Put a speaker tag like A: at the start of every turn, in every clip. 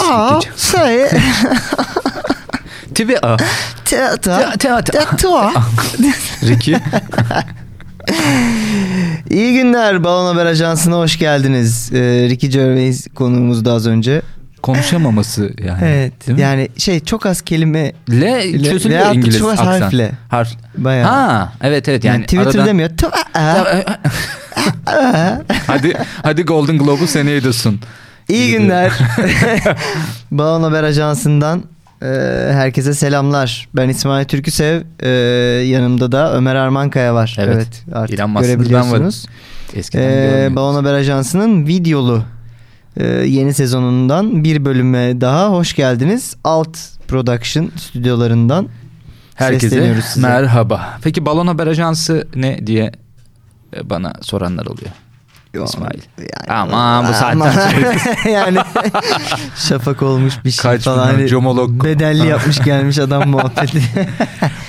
A: 好，谁？
B: TVA.
A: Teatr.
B: Teatr.
A: Teatr.
B: Ricky.
A: İyi günler Balon Haber Ajansı'na hoş geldiniz. Ee, Ricky Gervais konuğumuzdu az önce.
B: Konuşamaması yani.
A: Evet.
B: Değil mi?
A: Yani şey çok az kelime
B: Le
A: Le-
B: çözülüyor
A: Le-
B: İngiliz
A: Çok az
B: aksan.
A: harfle.
B: Harf.
A: bayağı.
B: Ha evet evet yani,
A: yani, Twitter
B: aradan- e,
A: demiyor. Tu- a- a-
B: hadi hadi Golden Globe'u seneye ödüyorsun.
A: İyi günler. Balon Haber Ajansı'ndan e, herkese selamlar. Ben İsmail Türküsev. E, yanımda da Ömer Armankaya var.
B: Evet.
A: artık
B: İlan Maslın'dan
A: görebiliyorsunuz.
B: Eskiden
A: E,
B: görmüyordum.
A: Balon Haber Ajansı'nın videolu e, yeni sezonundan bir bölüme daha hoş geldiniz. Alt Production stüdyolarından.
B: Herkese
A: sesleniyoruz size.
B: merhaba. Peki Balon Haber Ajansı ne diye e, bana soranlar oluyor. İsmail. Aman bu saatten
A: Aman. yani şafak olmuş bir şey
B: Kaç
A: falan.
B: milyon
A: Hani
B: jomolog.
A: Bedelli yapmış gelmiş adam muhabbeti.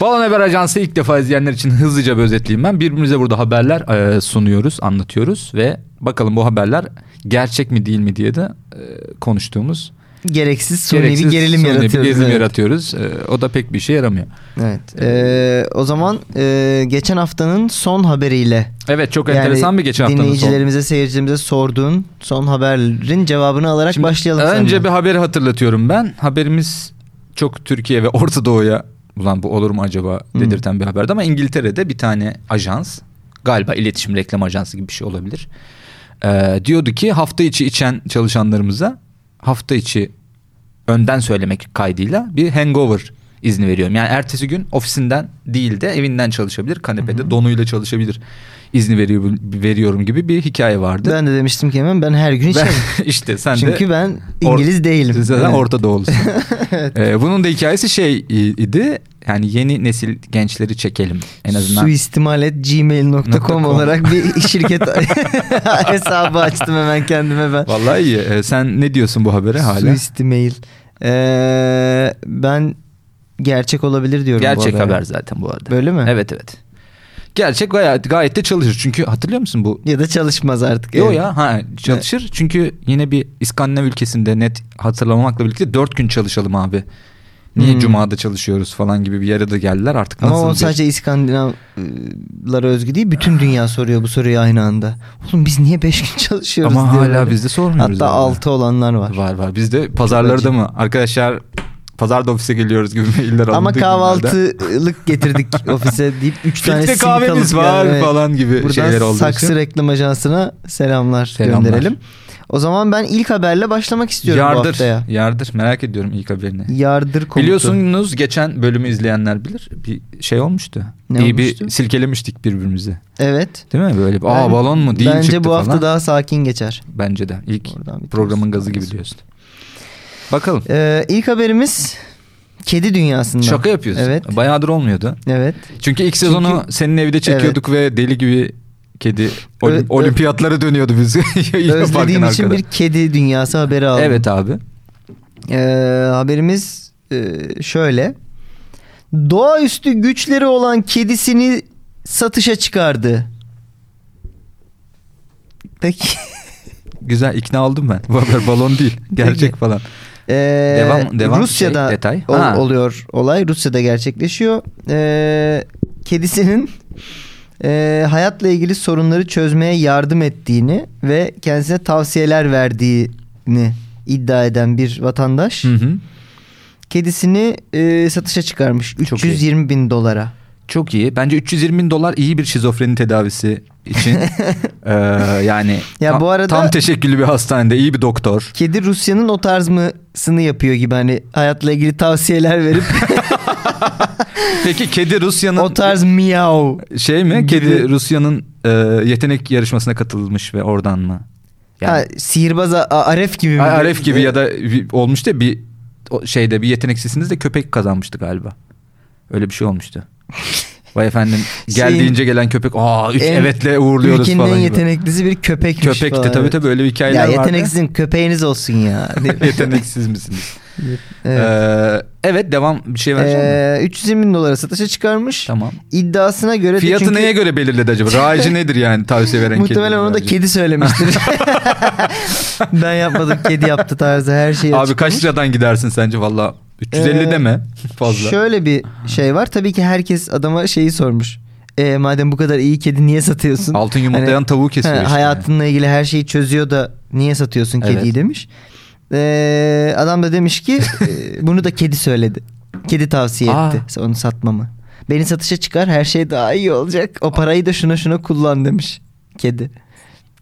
B: Balon Haber Ajansı ilk defa izleyenler için hızlıca bir özetleyeyim ben. Birbirimize burada haberler e, sunuyoruz, anlatıyoruz ve bakalım bu haberler gerçek mi değil mi diye de e, konuştuğumuz
A: Gereksiz suni
B: gereksiz
A: bir gerilim
B: suni bir
A: yaratıyoruz.
B: gerilim
A: evet.
B: yaratıyoruz. E, o da pek bir işe yaramıyor.
A: Evet. Ee, o zaman e, geçen haftanın son haberiyle
B: Evet çok
A: yani
B: enteresan bir geçen haftanın sonu.
A: dinleyicilerimize seyircimize sorduğun son haberin cevabını alarak
B: Şimdi
A: başlayalım.
B: Önce
A: seninle.
B: bir haberi hatırlatıyorum ben. Haberimiz çok Türkiye ve Orta Doğu'ya ulan bu olur mu acaba
A: Hmm.
B: dedirten bir haberdi ama İngiltere'de bir tane ajans galiba iletişim reklam ajansı gibi bir şey olabilir. Ee, diyordu ki hafta içi içen çalışanlarımıza hafta içi önden söylemek kaydıyla bir hangover izni veriyorum. Yani ertesi gün ofisinden değil de evinden çalışabilir, kanepede donuyla çalışabilir izni veriyor, veriyorum gibi bir hikaye vardı.
A: ben Şey- de demiştim ki hemen ben her gün
B: Ben-
A: içerim.
B: işte sen de
A: Çünkü ben
B: Or-
A: İngiliz değilim.
B: siz zaten
A: Evet.
B: Orta Doğulusun. Ee, bunun da hikayesi şey idi. Yani yeni nesil gençleri çekelim en azından.
A: Suistimalet.gmail.com
B: .com.
A: olarak bir şirket hesabı açtım hemen kendime ben.
B: Vallahi iyi. Ee, sen ne diyorsun bu habere hala?
A: Suistimail. Ee, ben gerçek olabilir diyorum. bu
B: Gerçek
A: habere.
B: haber zaten bu arada.
A: Böyle mi?
B: Evet evet. Gerçek gayet, gayet de çalışır. Çünkü hatırlıyor musun bu?
A: Ya da çalışmaz artık.
B: Yo
A: evet.
B: ya ha çalışır. Çünkü yine bir İskandinav ülkesinde net hatırlamamakla birlikte dört gün çalışalım abi. Niye
A: Hmm.
B: cumada çalışıyoruz falan gibi bir yere de geldiler artık nasıl
A: Ama o
B: bir- şey?
A: sadece İskandinavlara özgü değil. Bütün dünya soruyor bu soruyu aynı anda. Oğlum biz niye 5 gün çalışıyoruz
B: Ama
A: diyor
B: hala
A: böyle.
B: bizde sormuyoruz.
A: Hatta
B: yani.
A: 6 olanlar var.
B: Var var. Biz de pazarları da mı? Arkadaşlar pazarda ofise geliyoruz gibi mailler alındı.
A: Ama
B: günlerde.
A: kahvaltılık getirdik ofise deyip 3 tane
B: Filtre
A: simit
B: kahvemiz
A: alıp
B: var
A: gelmeye-
B: falan gibi şeyler
A: Buradan
B: olduğu
A: Saksı
B: için.
A: Reklam Ajansı'na selamlar,
B: Selamlar.
A: gönderelim. O zaman ben ilk haberle başlamak istiyorum bu haftaya.
B: Yardır. Yardır. Merak ediyorum ilk haberini.
A: Yardır komutu.
B: Biliyorsunuz geçen bölümü izleyenler bilir. Bir şey olmuştu.
A: Ne
B: İyi
A: olmuştu?
B: bir silkelemiştik birbirimizi.
A: Evet.
B: Değil mi? Böyle bir, aa
A: Ben-
B: balon mu? Değil
A: Bence
B: çıktı
A: bu hafta
B: falan.
A: daha sakin geçer.
B: Bence de. İlk
A: Oradan bir
B: programın
A: tanesi
B: gazı gibi
A: kalmasın.
B: diyorsun. Bakalım.
A: Ee, ilk haberimiz kedi dünyasından.
B: Şaka yapıyorsun.
A: Evet.
B: Bayağıdır olmuyordu.
A: Evet.
B: Çünkü ilk sezonu senin evde çekiyorduk ve deli gibi kedi olim-
A: Ö- ö-
B: olimpiyatlara dönüyordu biz. Yine
A: Özlediğim
B: parkın
A: için
B: arkada.
A: bir kedi dünyası haberi aldım.
B: Evet abi.
A: Ee, haberimiz e, şöyle. Doğaüstü güçleri olan kedisini satışa çıkardı. Peki.
B: Güzel ikna oldum ben. Bu haber balon değil. Gerçek falan.
A: Ee,
B: Devam- devam
A: Rusya'da
B: şey, detay.
A: ol-
B: Ha.
A: oluyor olay. Rusya'da gerçekleşiyor. Ee, kedisinin e, hayatla ilgili sorunları çözmeye yardım ettiğini ve kendisine tavsiyeler verdiğini iddia eden bir vatandaş
B: Hı hı.
A: kedisini e, satışa çıkarmış.
B: Çok
A: 320 bin dolara.
B: Çok iyi. Bence 320 bin dolar iyi bir şizofreni tedavisi için. Ee, yani
A: Ya
B: tam,
A: bu arada-
B: tam teşekküllü bir hastanede iyi bir doktor.
A: Kedi Rusya'nın o tarz mısını yapıyor gibi hani hayatla ilgili tavsiyeler verip
B: Peki kedi Rusya'nın
A: o tarz miyav.
B: şey mi?
A: Gibi.
B: Kedi Rusya'nın e, yetenek yarışmasına katılmış ve oradan mı?
A: Ha, sihirbaz A- Aref gibi mi? E,
B: Ay, Aref gibi ya da bir- olmuştu ya, bir o şeyde bir yeteneksizsiniz de köpek kazanmıştı galiba. Öyle bir şey olmuştu. Vay efendim geldiğince gelen köpek aa üç
A: En-
B: evetle uğurluyoruz
A: Ülkenin
B: falan.
A: en
B: gibi.
A: yeteneklisi bir köpekmiş
B: Köpek de
A: falan.
B: tabii tabii öyle bir hikayeler vardı.
A: Ya yeteneksizin köpeğiniz olsun ya. Hani-
B: Yeteneksiz misiniz?
A: Evet.
B: Ee, evet devam bir şey vereceğim. mi?
A: Ee, 320 bin dolara satışa çıkarmış.
B: Tamam.
A: İddiasına göre
B: Fiyatı
A: de çünkü
B: neye göre belirledi acaba? Rayici nedir yani tavsiye veren
A: muhtemelen
B: kedinin
A: onu da
B: rayici?
A: kedi söylemiştir. ben yapmadım kedi yaptı tarzı her şey şeyi
B: Abi
A: açıklamış.
B: kaç liradan gidersin sence valla? 350
A: Ee,
B: deme fazla.
A: Şöyle bir şey var. Tabii ki herkes adama şeyi sormuş. E, madem bu kadar iyi kedi niye satıyorsun?
B: Altın yumurtlayan
A: Hani-
B: tavuğu kesiyor
A: Ha,
B: işte.
A: Hayatınla ilgili her şeyi çözüyor da niye satıyorsun
B: Evet.
A: kediyi demiş. Ee, adam da demiş ki e, bunu da kedi söyledi. Kedi tavsiye
B: Aa.
A: etti onu satmamı. Beni satışa çıkar her şey daha iyi olacak. O parayı da şuna şuna kullan demiş kedi.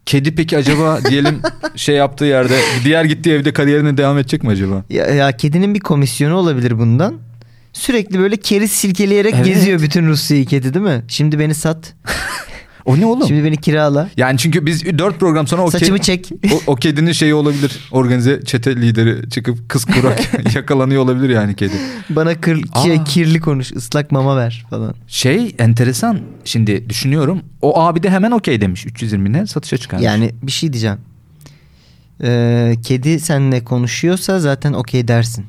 B: Kedi peki acaba diyelim şey yaptığı yerde diğer gittiği evde kariyerine devam edecek mi acaba?
A: Ya, ya kedinin bir komisyonu olabilir bundan. Sürekli böyle keriz silkeleyerek
B: Evet.
A: geziyor bütün Rusya'yı kedi değil mi? Şimdi beni sat.
B: O ne oğlum?
A: Şimdi beni kirala.
B: Yani çünkü biz 4 program sonra o,
A: Saçımı
B: kedi-
A: çek.
B: o, o kedinin şeyi olabilir. Organize çete lideri çıkıp kız kurak yakalanıyor olabilir yani kedi.
A: Bana kır, ki-
B: Aa.
A: kirli konuş. ıslak mama ver falan.
B: Şey enteresan şimdi düşünüyorum. O abi de hemen okey demiş 320'ne satışa çıkarmış.
A: Yani bir şey diyeceğim. Ee, kedi seninle konuşuyorsa zaten okey dersin.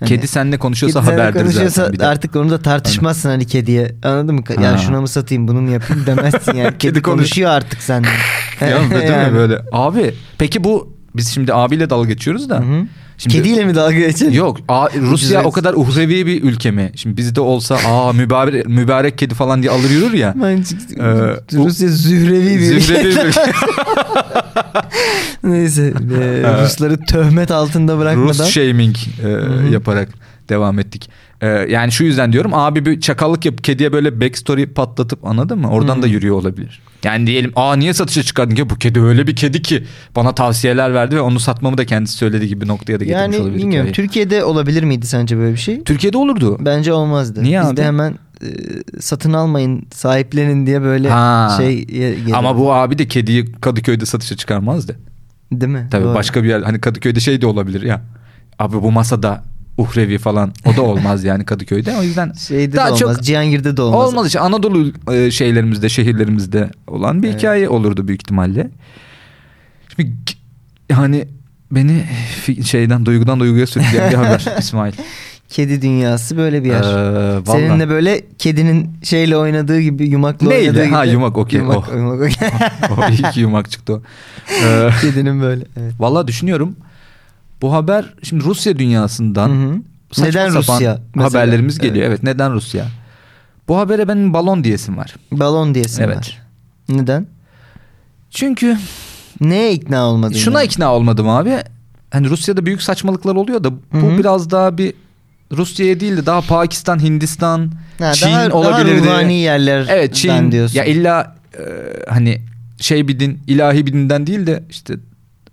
A: Hani
B: kedi seninle konuşuyorsa
A: kedi seninle
B: haberdir zaten. Bir de.
A: artık onu da tartışmazsın hani kediye. Anladın mı? Ya
B: Ha.
A: şuna mı satayım bunu mu yapayım demezsin yani. kedi,
B: Kedi konuş-
A: konuşuyor artık senden.
B: Ya, değil mi
A: Yani.
B: böyle? Abi peki bu biz şimdi abiyle dalga geçiyoruz da.
A: Hı hı.
B: Şimdi,
A: Kediyle mi dalga geçelim?
B: Yok a- Rusya
A: Ucuz
B: o kadar uhrevi bir ülke mi? Şimdi bizde olsa aa mübarek, mübarek kedi falan diye alır yürür ya.
A: Ben-
B: Ee, bu-
A: Rusya zührevi bir
B: Zührevi bir ülke.
A: Neyse. ee,
B: Ee,
A: Rusları töhmet altında bırakmadan.
B: Rus shaming e, yaparak devam ettik. E, yani şu yüzden diyorum abi bir çakallık yapıp kediye böyle backstory patlatıp anladın mı? Oradan da yürüyor olabilir. Yani diyelim aa niye satışa çıkardın ki bu kedi öyle bir kedi ki bana tavsiyeler verdi ve onu satmamı da kendisi söyledi gibi bir noktaya da getirmiş
A: yani
B: olabilir.
A: bilmiyorum.
B: hikayeyi.
A: Türkiye'de olabilir miydi sence böyle bir şey?
B: Türkiye'de olurdu.
A: Bence olmazdı.
B: Niye
A: Biz
B: abi?
A: de hemen e, satın almayın, sahiplenin diye böyle
B: Ha.
A: şey ye- gelir.
B: Ama bu abi de kediyi Kadıköy'de satışa çıkarmazdı.
A: değil mi?
B: Tabii
A: Doğru.
B: başka bir yer hani Kadıköy'de şey de olabilir ya. Abi bu masada uhrevi falan o da olmaz yani Kadıköy'de. O yüzden
A: şeyde
B: Daha
A: de olmaz.
B: çok-
A: Cihangir'de de olmaz.
B: olmaz. işte Anadolu e, şeylerimizde, şehirlerimizde olan bir
A: Evet.
B: hikaye olurdu büyük ihtimalle. Şimdi k- yani beni fi- şeyden duygudan duyguya sürükleyen bir haber İsmail.
A: Kedi dünyası böyle bir yer.
B: Ee, vallahi.
A: Seninle böyle kedinin şeyle oynadığı gibi yumakla
B: Neyle?
A: oynadığı gibi.
B: Ha, yumak, okey.
A: Yumak,
B: Oh.
A: yumak, okey.
B: o iyi ki yumak çıktı o. Ee,
A: Kedinin böyle. Evet.
B: vallahi düşünüyorum. Bu haber şimdi Rusya dünyasından
A: Hı hı.
B: saçma
A: Neden
B: sapan
A: Rusya? Mesela.
B: haberlerimiz geliyor. Evet. neden Rusya? Bu habere benim balon diyesim var.
A: Balon diyesin
B: Evet.
A: var. Neden?
B: Çünkü
A: Neye ikna olmadın?
B: şuna
A: yani?
B: ikna olmadım abi. Hani Rusya'da büyük saçmalıklar oluyor da bu
A: Hı hı.
B: biraz daha bir Rusya'ya değil de daha Pakistan, Hindistan,
A: Ha,
B: Çin
A: daha,
B: olabilirdi.
A: Daha ruhani yerler.
B: evet Çin
A: diyorsun.
B: ya illa e, hani şey bir din ilahi bir dinden değil de işte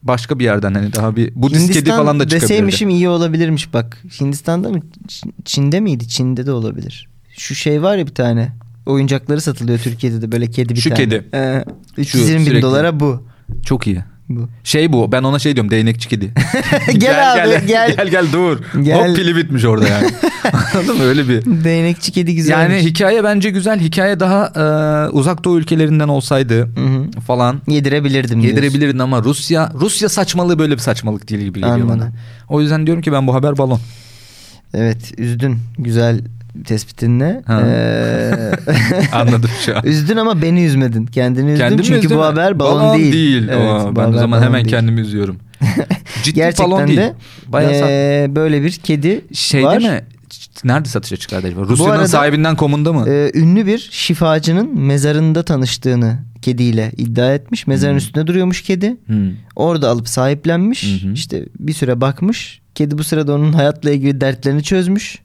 B: başka bir yerden hani daha bir Budist kedi
A: Hindistan
B: falan da çıkabilirdi.
A: deseymişim iyi olabilirmiş bak. Hindistan'da mı? Ç- Çin'de miydi? Çin'de de olabilir. Şu şey var ya bir tane. Oyuncakları satılıyor Türkiye'de de böyle kedi bir
B: Şu
A: tane.
B: kedi.
A: Ee,
B: Şu
A: 320 bin
B: sürekli.
A: dolara bu.
B: Çok iyi.
A: bu.
B: Şey bu ben ona şey diyorum değnekçi kedi.
A: Gel abi, gel.
B: gel. Gel gel dur.
A: Gel.
B: Hop pili bitmiş orada yani. Anladın mı öyle bir.
A: Değnekçi kedi güzelmiş.
B: Yani hikaye bence güzel. Hikaye daha e, uzak doğu ülkelerinden olsaydı
A: Hı hı.
B: falan
A: Yedirebilirdim diyorsun.
B: yedirebilirdin ama Rusya Rusya saçmalığı böyle bir saçmalık değil gibi geliyor
A: Anladım.
B: bana. O yüzden diyorum ki ben bu haber balon.
A: Evet üzdün. Güzel tespitinle.
B: Ha.
A: Ee,
B: Anladım şu an.
A: üzdün ama beni üzmedin. Kendini üzdün
B: Kendimi
A: çünkü
B: üzdün
A: bu
B: mü?
A: haber balon, değil. Evet,
B: Aa,
A: bu
B: ben o
A: haber
B: zaman
A: balon
B: hemen
A: değil.
B: kendimi üzüyorum. Ciddi
A: Gerçekten
B: balon değil.
A: de
B: Bayağı sat-
A: ee, böyle bir kedi
B: şey
A: var.
B: değil mi? Ç- Nerede satışa çıkardı acaba? Rusya'nın
A: arada-
B: sahibinden komunda mı?
A: Ee, ünlü bir şifacının mezarında tanıştığını kediyle iddia etmiş. Mezarın üstünde duruyormuş kedi.
B: Hmm.
A: Orada alıp sahiplenmiş.
B: Hı hı.
A: İşte bir süre bakmış. Kedi bu sırada onun hayatla ilgili dertlerini çözmüş.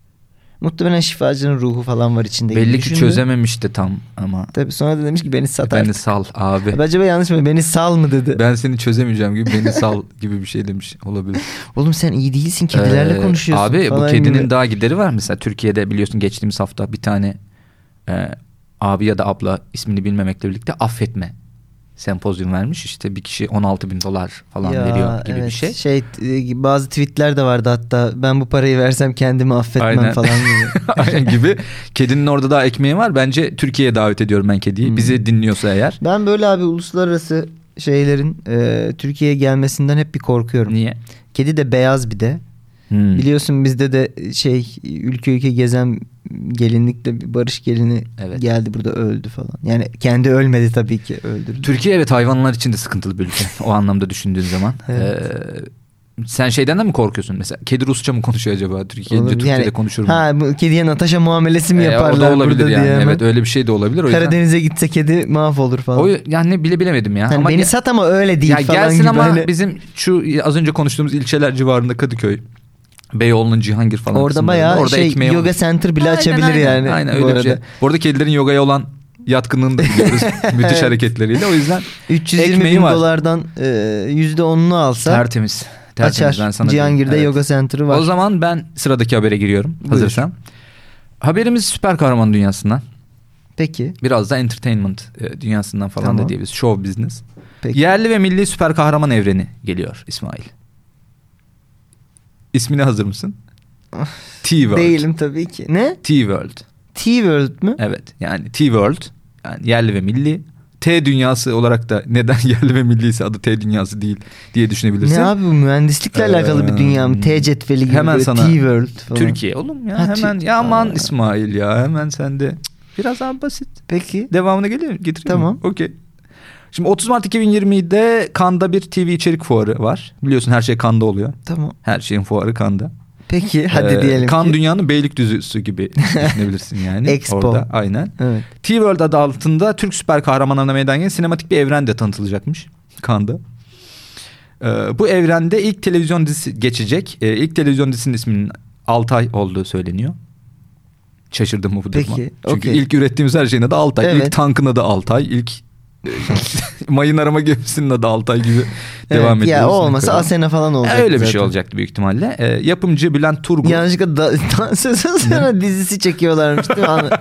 A: Muhtemelen şifacının ruhu falan var içinde. gibi
B: Belli ki
A: düşündü.
B: çözememiş de tam ama.
A: Tabii sonra da demiş ki beni sat
B: Beni
A: artık.
B: sal abi.
A: Acaba yanlış mı? Beni sal mı dedi.
B: Ben seni çözemeyeceğim gibi beni sal gibi bir şey demiş olabilir.
A: Oğlum sen iyi değilsin. Kedilerle
B: Ee,
A: konuşuyorsun
B: Abi bu
A: falan
B: kedinin
A: gibi.
B: daha gideri var mesela Türkiye'de biliyorsun geçtiğimiz hafta bir tane e, abi ya da abla ismini bilmemekle birlikte affetme sempozyum vermiş. İşte bir kişi 16 bin dolar falan veriyor gibi
A: evet.
B: bir şey.
A: Şey e, bazı tweetler de vardı hatta ben bu parayı versem kendimi affetmem
B: Aynen.
A: falan gibi.
B: Aynen gibi. Kedinin orada daha ekmeği var. Bence Türkiye'ye davet ediyorum ben kediyi.
A: Hmm.
B: Bizi dinliyorsa eğer.
A: ben böyle abi uluslararası şeylerin e, Türkiye'ye gelmesinden hep bir korkuyorum.
B: Niye?
A: Kedi de beyaz bir de.
B: Hmm.
A: Biliyorsun bizde de şey ülke ülke gezen gelinlikle bir barış gelini
B: Evet.
A: geldi burada öldü falan. Yani kendi ölmedi tabii ki öldürdü.
B: Türkiye evet hayvanlar için de sıkıntılı bir ülke. o anlamda düşündüğün zaman. Ee, sen şeyden de mi korkuyorsun mesela? Kedi Rusça mı konuşuyor acaba? Türkiye'de
A: Olabilir.
B: Türkçe'de
A: Yani,
B: konuşur mu?
A: Ha bu kediye Natasha muamelesi mi
B: Ee, o da
A: yaparlar
B: olabilir
A: burada
B: yani.
A: diye hemen.
B: Evet öyle bir şey de olabilir. O yüzden,
A: Karadeniz'e gitse kedi mahvolur falan.
B: o, yani bile bilemedim ya.
A: Hani
B: ama
A: beni
B: ge-
A: sat ama öyle değil
B: ya
A: falan
B: gelsin
A: gibi.
B: ama
A: Hani
B: bizim şu az önce konuştuğumuz ilçeler civarında Kadıköy, Beyoğlu'nun Cihangir falan
A: orada
B: kısımlarında.
A: bayağı
B: Orada
A: şey
B: ekmeği
A: yoga
B: olur.
A: center bile
B: Aynen,
A: açabilir
B: aynen.
A: yani.
B: Aynen
A: bu
B: öyle bir
A: arada.
B: şey. Bu arada kedilerin yogaya olan yatkınlığını da biliyoruz. Müthiş
A: Evet.
B: hareketleriyle. O yüzden
A: 320
B: şey. Ekmeği
A: bin
B: var.
A: dolardan e, %10'unu alsa
B: tertemiz. tertemiz.
A: açar.
B: Ben sana
A: Cihangir'de
B: diyeyim. Evet.
A: yoga center'ı var.
B: O zaman ben sıradaki habere giriyorum.
A: Buyur.
B: Hazırsan. Haberimiz süper kahraman dünyasından.
A: Peki.
B: Biraz da entertainment e, dünyasından falan
A: Tamam.
B: da diyebiliriz. Show business.
A: Peki.
B: Yerli ve milli süper kahraman evreni geliyor İsmail. İsmine hazır mısın? T-World.
A: Değilim tabii ki. Ne?
B: T-World.
A: T-World mü?
B: Evet yani T-World yani yerli ve milli. T dünyası olarak da neden yerli ve milli ise adı T dünyası değil diye düşünebilirsin.
A: Ne abi bu mühendislikle
B: Ee,
A: alakalı bir dünya mı? T cetveli gibi
B: hemen
A: böyle
B: sana
A: T-World falan.
B: Türkiye oğlum ya
A: Ha, Tü-
B: hemen ya aman
A: Aa.
B: İsmail ya hemen sende. Cık, Biraz daha basit.
A: Peki.
B: Devamını geliyor mu? Getireyim
A: Tamam.
B: mi? Okey. Şimdi 30 Mart 2020'de Kanda bir TV içerik fuarı var. Biliyorsun her şey Kanda oluyor.
A: Tamam.
B: Her şeyin fuarı Kanda.
A: Peki E, hadi
B: Ee,
A: diyelim
B: Kan
A: ki.
B: dünyanın Beylikdüzüsü gibi düşünebilirsin yani.
A: Expo.
B: Orada aynen.
A: Evet.
B: T-World adı altında Türk süper kahramanlarına meydan gelen sinematik bir evren de tanıtılacakmış. Kanda. Ee, bu evrende ilk televizyon dizisi geçecek. Ee, ilk televizyon dizisinin isminin Altay olduğu söyleniyor. Şaşırdım mı bu
A: Peki,
B: duruma? Çünkü
A: okey.
B: ilk ürettiğimiz her şeyin adı Altay.
A: Evet.
B: İlk tankın adı Altay. İlk e, mayın arama gemisinin adı Altay gibi devam
A: evet,
B: ediyoruz.
A: ya o
B: Ne
A: olmasa
B: kadar-
A: Asena falan olacak.
B: Öyle bir şey
A: zaten.
B: olacaktı büyük ihtimalle. Ee, yapımcı Bülent Turgut.
A: Yanlışlıkla da, dansözün sana dizisi çekiyorlarmış değil mi? Anla-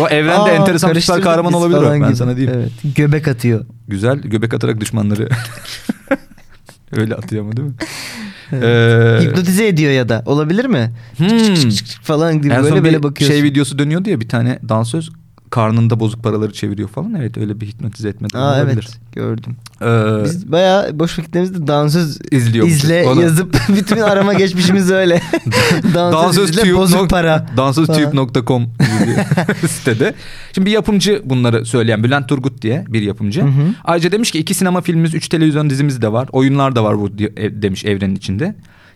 B: O evrende
A: Aa,
B: enteresan bir süper
A: karıştırdık
B: kahraman
A: biz
B: olabilir o.
A: falan
B: Ben
A: gibi.
B: sana diyeyim.
A: Evet. Göbek atıyor.
B: Güzel göbek atarak düşmanları öyle atıyor ama değil mi?
A: Evet.
B: Ee,
A: Hipnotize ediyor ya da. Olabilir mi?
B: Hmm.
A: falan gibi
B: En son
A: böyle
B: bir
A: böyle bakıyorsun.
B: Şey videosu dönüyordu ya bir tane dansöz karnında bozuk paraları çeviriyor falan. Evet öyle bir hipnotize etme de
A: Aa
B: olabilir.
A: evet gördüm.
B: Ee,
A: Biz bayağı boş vakitlerimizde dansöz
B: izliyormuşuz.
A: izle
B: Onu-
A: yazıp bütün arama geçmişimiz öyle. dansöz
B: Dansöz
A: izle
B: tüyüp
A: bozuk
B: nok-
A: para.
B: Dansöztube.com gibi bir sitede. Şimdi bir yapımcı bunları söyleyen Bülent Turgut diye bir yapımcı.
A: Hı hı.
B: Ayrıca demiş ki iki sinema filmimiz, üç televizyon dizimiz de var. Oyunlar da var bu di- e- demiş evrenin içinde.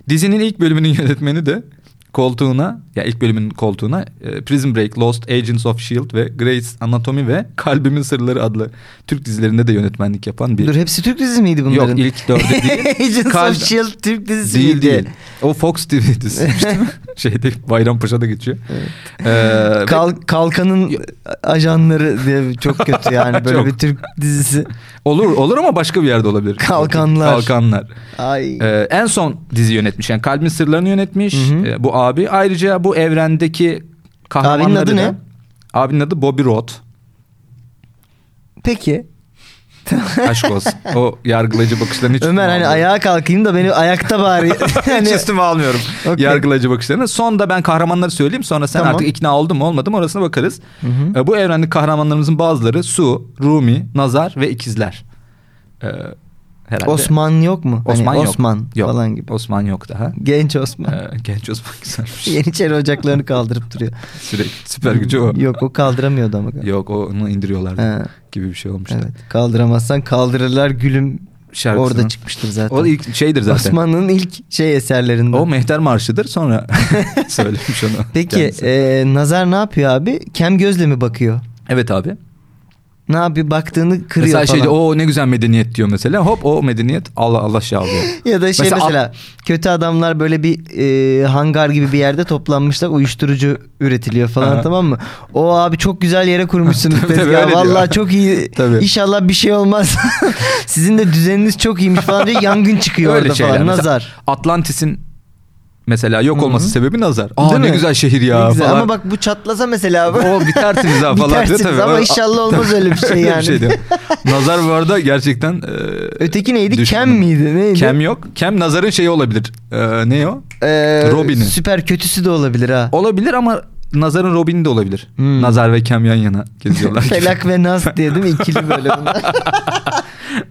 B: Dizinin ilk bölümünün yönetmeni de koltuğuna ya ilk bölümünün koltuğuna e, Prison Break, Lost, Agents of Shield E ve Grey's Anatomy ve Kalbimin Sırları adlı Türk dizilerinde de yönetmenlik yapan bir
A: Dur hepsi Türk dizisi miydi bunların?
B: Yok ilk dördü değil.
A: Agents
B: Kal-
A: of S.H.I.E.L.D. E Türk dizisi
B: değil
A: miydi?
B: değil. O Fox TV dizisi. işte. Şeyde Bayrampaşa'da geçiyor.
A: Evet.
B: Ee, ve-
A: Kal- Kalkan'ın ajanları diye çok kötü yani böyle
B: Çok.
A: bir Türk dizisi.
B: Olur olur ama başka bir yerde olabilir.
A: Kalkanlar.
B: Kalkanlar.
A: Ay.
B: Ee, en son dizi yönetmiş. Yani Kalbin Sırlarını yönetmiş
A: Hı hı.
B: e, bu abi. Ayrıca bu evrendeki kahramanları
A: Abinin adı
B: da-
A: ne?
B: Abinin adı Bobby Roth.
A: Peki.
B: Aşk olsun. O yargılayıcı bakışlarını hiç
A: Ömer hani
B: almıyorum.
A: ayağa kalkayım da beni ayakta bari.
B: Hiç
A: hani,
B: üstüme almıyorum.
A: Okey.
B: Yargılayıcı bakışlarını. Son da ben kahramanları söyleyeyim. Sonra sen
A: Tamam.
B: artık ikna oldun mu olmadı mı orasına bakarız.
A: Hı hı.
B: E, Bu evrendeki kahramanlarımızın bazıları Su, Rumi, Nazar ve ikizler. Ee, herhalde.
A: Osman yok mu? Hani
B: Osman yok.
A: Osman
B: Yok.
A: falan gibi.
B: Osman yok daha.
A: Genç Osman.
B: Ee, genç Osman güzelmiş.
A: Yeniçeri ocaklarını kaldırıp duruyor.
B: Sürekli süper gücü o.
A: Yok o kaldıramıyordu ama.
B: Yok onu indiriyorlardı
A: He,
B: gibi bir şey olmuştu.
A: evet. Kaldıramazsan kaldırırlar gülüm
B: Şarkısını.
A: orada çıkmıştır zaten.
B: O ilk şeydir zaten.
A: Osman'ın ilk şey eserlerinden.
B: O mehter marşıdır sonra söylemiş onu.
A: Peki
B: kendisi.
A: e, Nazar ne yapıyor abi? Kem gözle mi bakıyor?
B: evet abi.
A: Ne yapıyor? Baktığını kırıyor
B: mesela
A: falan.
B: şeyde o ne güzel medeniyet diyor mesela. Hop o medeniyet Allah Allah şey alıyor.
A: Ya da şey
B: Mesela-
A: mesela, kötü adamlar böyle bir e, hangar gibi bir yerde toplanmışlar uyuşturucu üretiliyor falan
B: Aha.
A: tamam mı? O abi çok güzel yere kurmuşsunuz
B: Tabii, tabii,
A: tezgahı.
B: öyle diyor.
A: Vallahi çok iyi.
B: Tabii.
A: İnşallah bir şey olmaz. Sizin de düzeniniz çok iyiymiş falan diye yangın çıkıyor
B: Öyle
A: orada
B: şeyler.
A: falan.
B: Mesela
A: Nazar.
B: Atlantis'in Mesela yok olması sebebi nazar. Aa
A: Değil
B: ne
A: mi?
B: güzel şehir ya
A: Ne güzel.
B: falan.
A: Ama bak bu çatlasa mesela bu.
B: o bitersiniz ha falan diyor
A: Bitersiniz
B: tabii.
A: ama
B: Öyle-
A: inşallah olmaz öyle bir şey
B: öyle
A: yani.
B: diyor. nazar bu arada gerçekten e,
A: Öteki neydi?
B: düşündüm.
A: Kem miydi? Neydi?
B: Kem yok. Kem nazarın şeyi olabilir. E, ne o?
A: Ee,
B: Robin'i.
A: Süper kötüsü de olabilir ha.
B: Olabilir ama nazarın Robin'i de olabilir.
A: Hmm.
B: Nazar ve Kem yan yana geziyorlar.
A: Felak ve Nas diye değil mi? İkili böyle bunlar.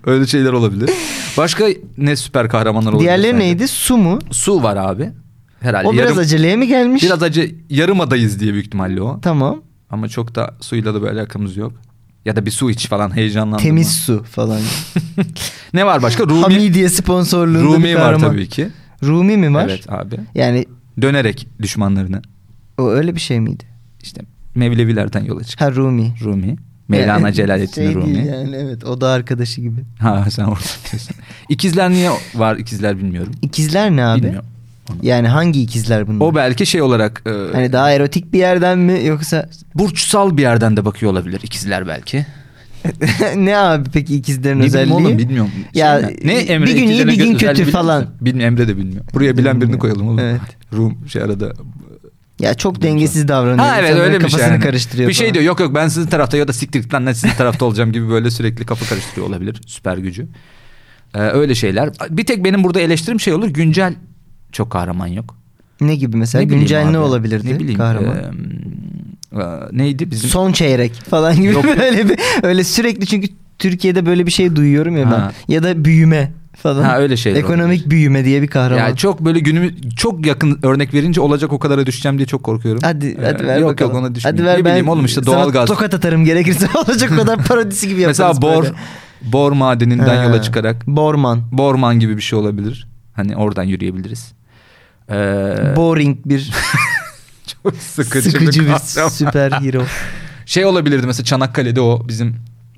B: Öyle şeyler olabilir. Başka ne süper kahramanlar olabilir?
A: Diğerleri
B: sence?
A: neydi? Su mu?
B: Su var abi. Herhalde.
A: O biraz
B: yarım,
A: aceleye mi gelmiş?
B: biraz acı yarım adayız diye büyük ihtimalle o.
A: Tamam.
B: Ama çok da suyla da bir alakamız yok. Ya da bir su iç falan heyecanlandım.
A: Temiz su falan.
B: Ne var başka? Rumi,
A: Hamidiye sponsorluğunda bir
B: Rumi var
A: kahraman.
B: tabii ki.
A: Rumi mi var?
B: Evet abi.
A: Yani
B: Dönerek düşmanlarını
A: o öyle bir şey miydi?
B: işte Mevlevilerden yola çık.
A: Ha Rumi.
B: Rumi. Mevlana
A: Yani
B: Celaleddin
A: şey
B: Rumi.
A: değil Yani, evet o da arkadaşı gibi.
B: Ha sen orada diyorsun. İkizler niye var ikizler bilmiyorum.
A: İkizler ne abi?
B: Bilmiyorum.
A: Yani hangi ikizler bunlar?
B: O belki şey olarak e,
A: Hani daha erotik bir yerden mi yoksa
B: burçsal bir yerden de bakıyor olabilir ikizler belki.
A: ne abi peki ikizlerin
B: Ne bileyim
A: özelliği?
B: oğlum bilmiyorum.
A: Ya,
B: Şey ne
A: bir
B: Emre
A: gün iyi,
B: ikizlerin
A: bir gün
B: özelliği
A: kötü
B: biliyor musun?
A: falan.
B: Bilmiyorum Emre de bilmiyor. Buraya bilen birini
A: Bilmiyorum.
B: koyalım oğlum.
A: Evet.
B: Rum şey arada.
A: Ya çok dengesiz davranıyor.
B: Ha evet
A: İnsanların
B: öyle bir şey.
A: kafasını
B: yani.
A: karıştırıyor.
B: Bir şey
A: falan.
B: diyor yok yok ben sizin tarafta ya da siktir git lan ne sizin tarafta olacağım gibi böyle sürekli kafa karıştırıyor olabilir süper gücü. Ee, öyle şeyler. Bir tek benim burada eleştirim şey olur güncel çok kahraman yok.
A: Ne gibi mesela?
B: Ne bileyim
A: Güncel ne
B: abi.
A: olabilirdi?
B: Ne bileyim.
A: Kahraman.
B: Ee, e, neydi bizim?
A: Son çeyrek falan gibi
B: Yok.
A: böyle bir öyle sürekli çünkü Türkiye'de böyle bir şey duyuyorum ya ben.
B: Ha.
A: Ya da büyüme falan.
B: Ha, öyle şeyler
A: Ekonomik
B: olabilir.
A: büyüme diye bir kahraman.
B: Ya çok böyle günümü çok yakın örnek verince olacak o kadara düşeceğim diye çok korkuyorum.
A: Hadi
B: Ee,
A: hadi ver
B: Yok
A: bakalım.
B: yok ona düşmeyeyim.
A: Hadi ver
B: ne
A: ben
B: bileyim oğlum işte
A: sana
B: doğalgaz.
A: tokat atarım gerekirse olacak kadar parodisi gibi yaparız.
B: Mesela bor
A: böyle.
B: bor madeninden
A: Ha,
B: yola çıkarak
A: Borman.
B: borman gibi bir şey olabilir. Hani oradan yürüyebiliriz. Ee,
A: Boring bir
B: çok sıkıcı,
A: sıkıcı
B: bir
A: bir
B: kavram.
A: süper hero.
B: Şey olabilirdi mesela Çanakkale'de o bizim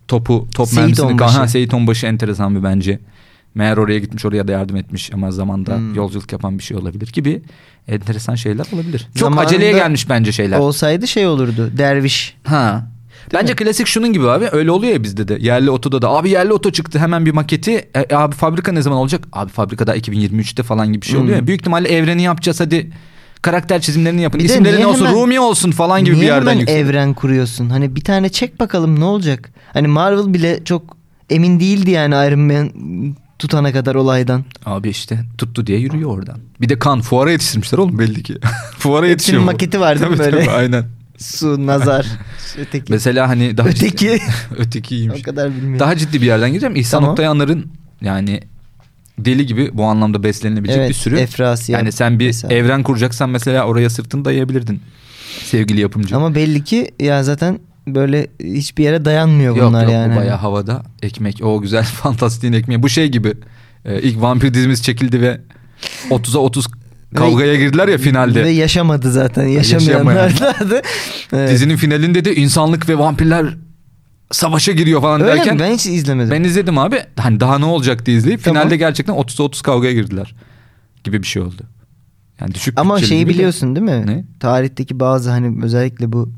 B: topu top
A: Seyit
B: mermisini
A: Onbaşı.
B: kahan Seyit Onbaşı enteresan bir bence. Meğer oraya gitmiş oraya da yardım etmiş ama zamanda
A: Hmm.
B: yolculuk yapan bir şey olabilir gibi enteresan şeyler olabilir. Çok
A: Zamanında
B: aceleye gelmiş bence şeyler.
A: Olsaydı şey olurdu. Derviş.
B: Ha. Bence klasik şunun gibi abi öyle oluyor ya bizde de yerli otoda da abi yerli oto çıktı hemen bir maketi E, abi fabrika ne zaman olacak abi fabrikada 2023'te falan gibi bir şey
A: Hmm.
B: oluyor ya. büyük ihtimalle evreni yapacağız hadi karakter çizimlerini yapın
A: Bir de
B: isimleri
A: niye
B: ne olsun
A: hemen-
B: Rumi olsun falan gibi
A: Niye
B: bir yerden
A: hemen
B: yükseliyor.
A: evren kuruyorsun? Hani bir tane çek bakalım ne olacak? Hani Marvel bile çok emin değildi yani Iron Man tutana kadar olaydan.
B: Abi işte tuttu diye yürüyor oradan. Bir de kan fuara yetiştirmişler oğlum belli ki. fuara
A: Hepsinin
B: yetişiyor. bu.
A: maketi var değil mi
B: Tabii,
A: böyle?
B: tabii, aynen.
A: Su, nazar, şey, öteki.
B: Mesela hani daha
A: Öteki.
B: ötekiymiş.
A: o kadar bilmiyorum.
B: Daha ciddi bir yerden gireceğim. İhsan
A: Tamam.
B: Oktayanların yani deli gibi bu anlamda beslenilebilecek
A: Evet,
B: bir sürü.
A: Efrasiyab
B: yani sen bir
A: mesela.
B: evren kuracaksan mesela oraya sırtını dayayabilirdin. Sevgili yapımcı.
A: Ama belli ki ya zaten böyle hiçbir yere dayanmıyor
B: yok
A: bunlar
B: yok
A: yani.
B: bu bayağı havada ekmek. O güzel fantastiğin ekmeği. Bu şey gibi. e, ilk vampir dizimiz çekildi ve 30'a 30 kavgaya girdiler ya finalde.
A: Ve yaşamadı zaten. Yaşamayanlardı. evet.
B: Dizinin finalinde de insanlık ve vampirler savaşa giriyor falan
A: Öyle
B: derken
A: mi? Ben hiç izlemedim.
B: ben izledim abi. Hani daha ne olacak diye izleyip
A: Tamam.
B: finalde gerçekten 30'a 30 kavgaya girdiler gibi bir şey oldu. Yani düşük
A: Ama
B: bütçeli
A: şeyi
B: gibi de-
A: biliyorsun değil mi?
B: Ne?
A: Tarihteki bazı hani özellikle bu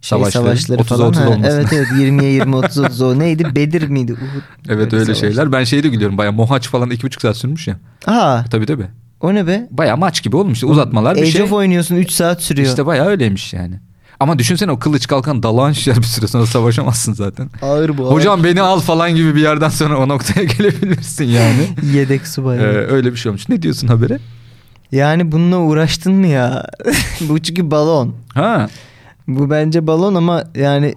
A: şey
B: Savaşları,
A: savaşları,
B: 30'a
A: falan.
B: 30
A: ha,
B: olmasın.
A: evet evet 20'ye 20 30 30 o neydi? Bedir miydi? Uhud.
B: Evet öyle
A: savaş.
B: şeyler. Ben şeyi de gülüyorum. Baya mohaç falan 2,5 saat sürmüş ya.
A: Aa
B: Tabii tabii.
A: o ne be?
B: Baya maç gibi olmuş. Uzatmalar bir
A: Age
B: şey.
A: of oynuyorsun 3 saat sürüyor.
B: İşte baya öyleymiş yani. Ama düşünsene o kılıç kalkan dalağın şişer bir süre sonra savaşamazsın zaten.
A: Ağır bu. ağır.
B: Hocam beni al falan gibi bir yerden sonra o noktaya gelebilirsin yani.
A: Yedek
B: Ee,
A: subay.
B: öyle bir şey olmuş. Ne diyorsun habere?
A: Yani bununla uğraştın mı ya? bu çünkü balon.
B: Ha.
A: Bu bence balon ama yani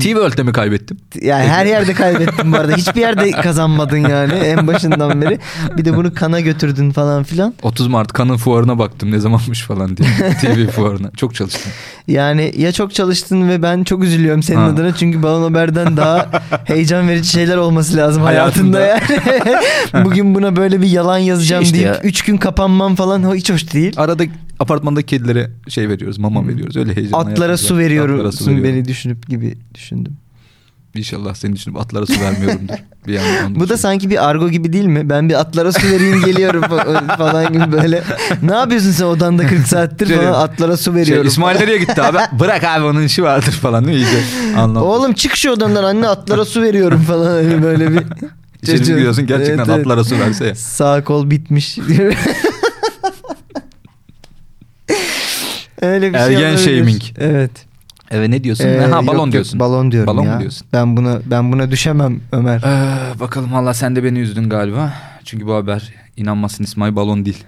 B: T-World'de mi kaybettim?
A: yani her yerde kaybettin bu arada. Hiçbir yerde kazanmadın yani en başından beri. Bir de bunu kana götürdün falan filan.
B: 30 Mart kanın fuarına baktım ne zamanmış falan diye. TV fuarına. Çok çalıştım.
A: Yani ya çok çalıştın ve ben çok üzülüyorum senin
B: Ha.
A: adına çünkü Balon Haber'den daha heyecan verici şeyler olması lazım
B: Hayatında.
A: hayatında, yani. Bugün buna böyle bir yalan yazacağım
B: Şey işte
A: deyip
B: ya.
A: 3 gün kapanmam falan o hiç hoş değil.
B: Arada apartmanda kedilere şey veriyoruz mama veriyoruz öyle heyecanla.
A: Hmm. Atlara
B: yapıyoruz.
A: su veriyorum
B: Atlara su veriyorum.
A: beni düşünüp gibi düşündüm.
B: İnşallah senin düşünüp atlara su vermiyorumdur. bir yandan onu
A: Bu da
B: düşünüyorum.
A: sanki bir argo gibi değil mi? Ben bir atlara su vereyim geliyorum fa- falan gibi böyle. Ne yapıyorsun sen odanda 40 saattir
B: Şey,
A: falan atlara su
B: Şey,
A: veriyorum.
B: İsmail nereye gitti abi? Bırak abi onun işi vardır falan değil mi? İyice anlattı.
A: Oğlum çık şu odandan anne atlara su veriyorum falan hani böyle bir.
B: İçeri
A: Çocuğun-
B: giriyorsun gerçekten
A: Evet, evet.
B: atlara su verse ya.
A: Sağ kol bitmiş. Öyle bir şey
B: Ergen
A: olabilir.
B: shaming.
A: Evet.
B: Evet ne diyorsun?
A: Ee,
B: ha,
A: yok,
B: balon
A: yok,
B: diyorsun.
A: Balon diyorum
B: Balon
A: ya.
B: mu diyorsun?
A: Ben buna ben buna düşemem Ömer.
B: Ee, bakalım valla sen de beni üzdün galiba. Çünkü bu haber inanmasın İsmail balon değil.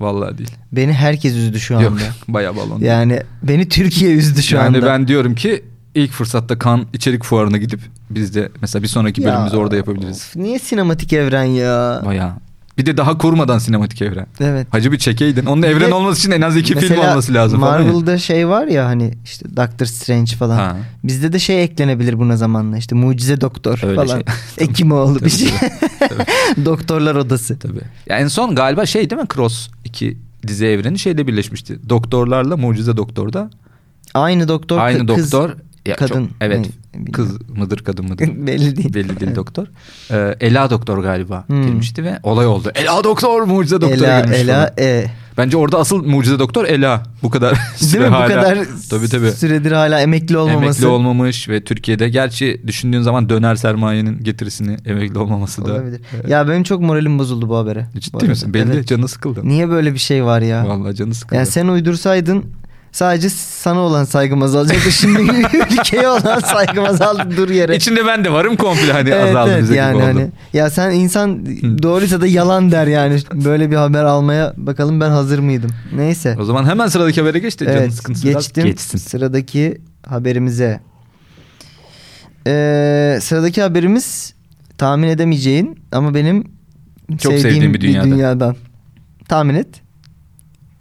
B: Vallahi değil.
A: Beni herkes üzdü şu anda.
B: Yok baya balon. değil.
A: Yani beni Türkiye üzdü şu
B: yani
A: anda.
B: ben diyorum ki ilk fırsatta kan içerik fuarına gidip biz de mesela bir sonraki
A: Ya,
B: bölümümüzü orada yapabiliriz.
A: of, niye sinematik evren ya?
B: Baya. Bir de daha kurmadan sinematik evren.
A: Evet.
B: Hacı bir çekeydin. Onun evren
A: de
B: olması için en az iki film
A: Mesela
B: olması lazım. falan ya.
A: Marvel'da şey var ya hani işte Doctor Strange falan.
B: Ha.
A: Bizde de şey eklenebilir buna zamanla işte mucize doktor
B: Öyle
A: falan.
B: şey.
A: Ekimoğlu
B: Tabii,
A: bir şey. Doktorlar odası.
B: Tabii. Ya en son galiba şey değil mi Cross 2 dizi evreni şeyle birleşmişti. Doktorlarla Mucize Doktor'da
A: Aynı doktor kı-
B: aynı
A: kız.
B: doktor ya çok-
A: kadın.
B: evet
A: Ne,
B: kız mıdır kadın mıdır
A: Belli değil.
B: belli değil
A: Evet.
B: doktor. Ee, Ela Doktor galiba
A: Hmm.
B: girmişti ve olay oldu. Ela Doktor Mucize Doktor
A: Ela
B: girmiş falan.
A: Ela e.
B: Bence orada asıl Mucize Doktor Ela bu kadar süre
A: Değil mi
B: hala.
A: bu kadar
B: tabii tabii.
A: süredir hala emekli olmaması.
B: Emekli olmamış ve Türkiye'de gerçi düşündüğün zaman döner sermayenin getirisini emekli olmaması da.
A: olabilir.
B: Evet. E,
A: Ya benim çok moralim bozuldu bu habere. Bu
B: Ciddi
A: arada.
B: misin? Belli
A: Evet.
B: canı sıkıldı.
A: Niye böyle bir şey var ya?
B: Vallahi canı sıkıldı.
A: Yani sen uydursaydın sadece sana olan saygım azalacaktı. Şimdi ülkeye olan saygım azaldı dur yere.
B: İçinde ben de varım komple hani azaldı bize
A: yani
B: gibi oldu.
A: hani ya sen insan doğruysa da yalan der yani böyle bir haber almaya bakalım ben hazır mıydım neyse
B: O zaman hemen sıradaki habere geç de canın
A: evet
B: sıkıntısı biraz
A: geçtim
B: geçsin.
A: sıradaki haberimize Ee, sıradaki haberimiz tahmin edemeyeceğin ama benim
B: Çok sevdiğim bir dünyadan.
A: dünyadan tahmin et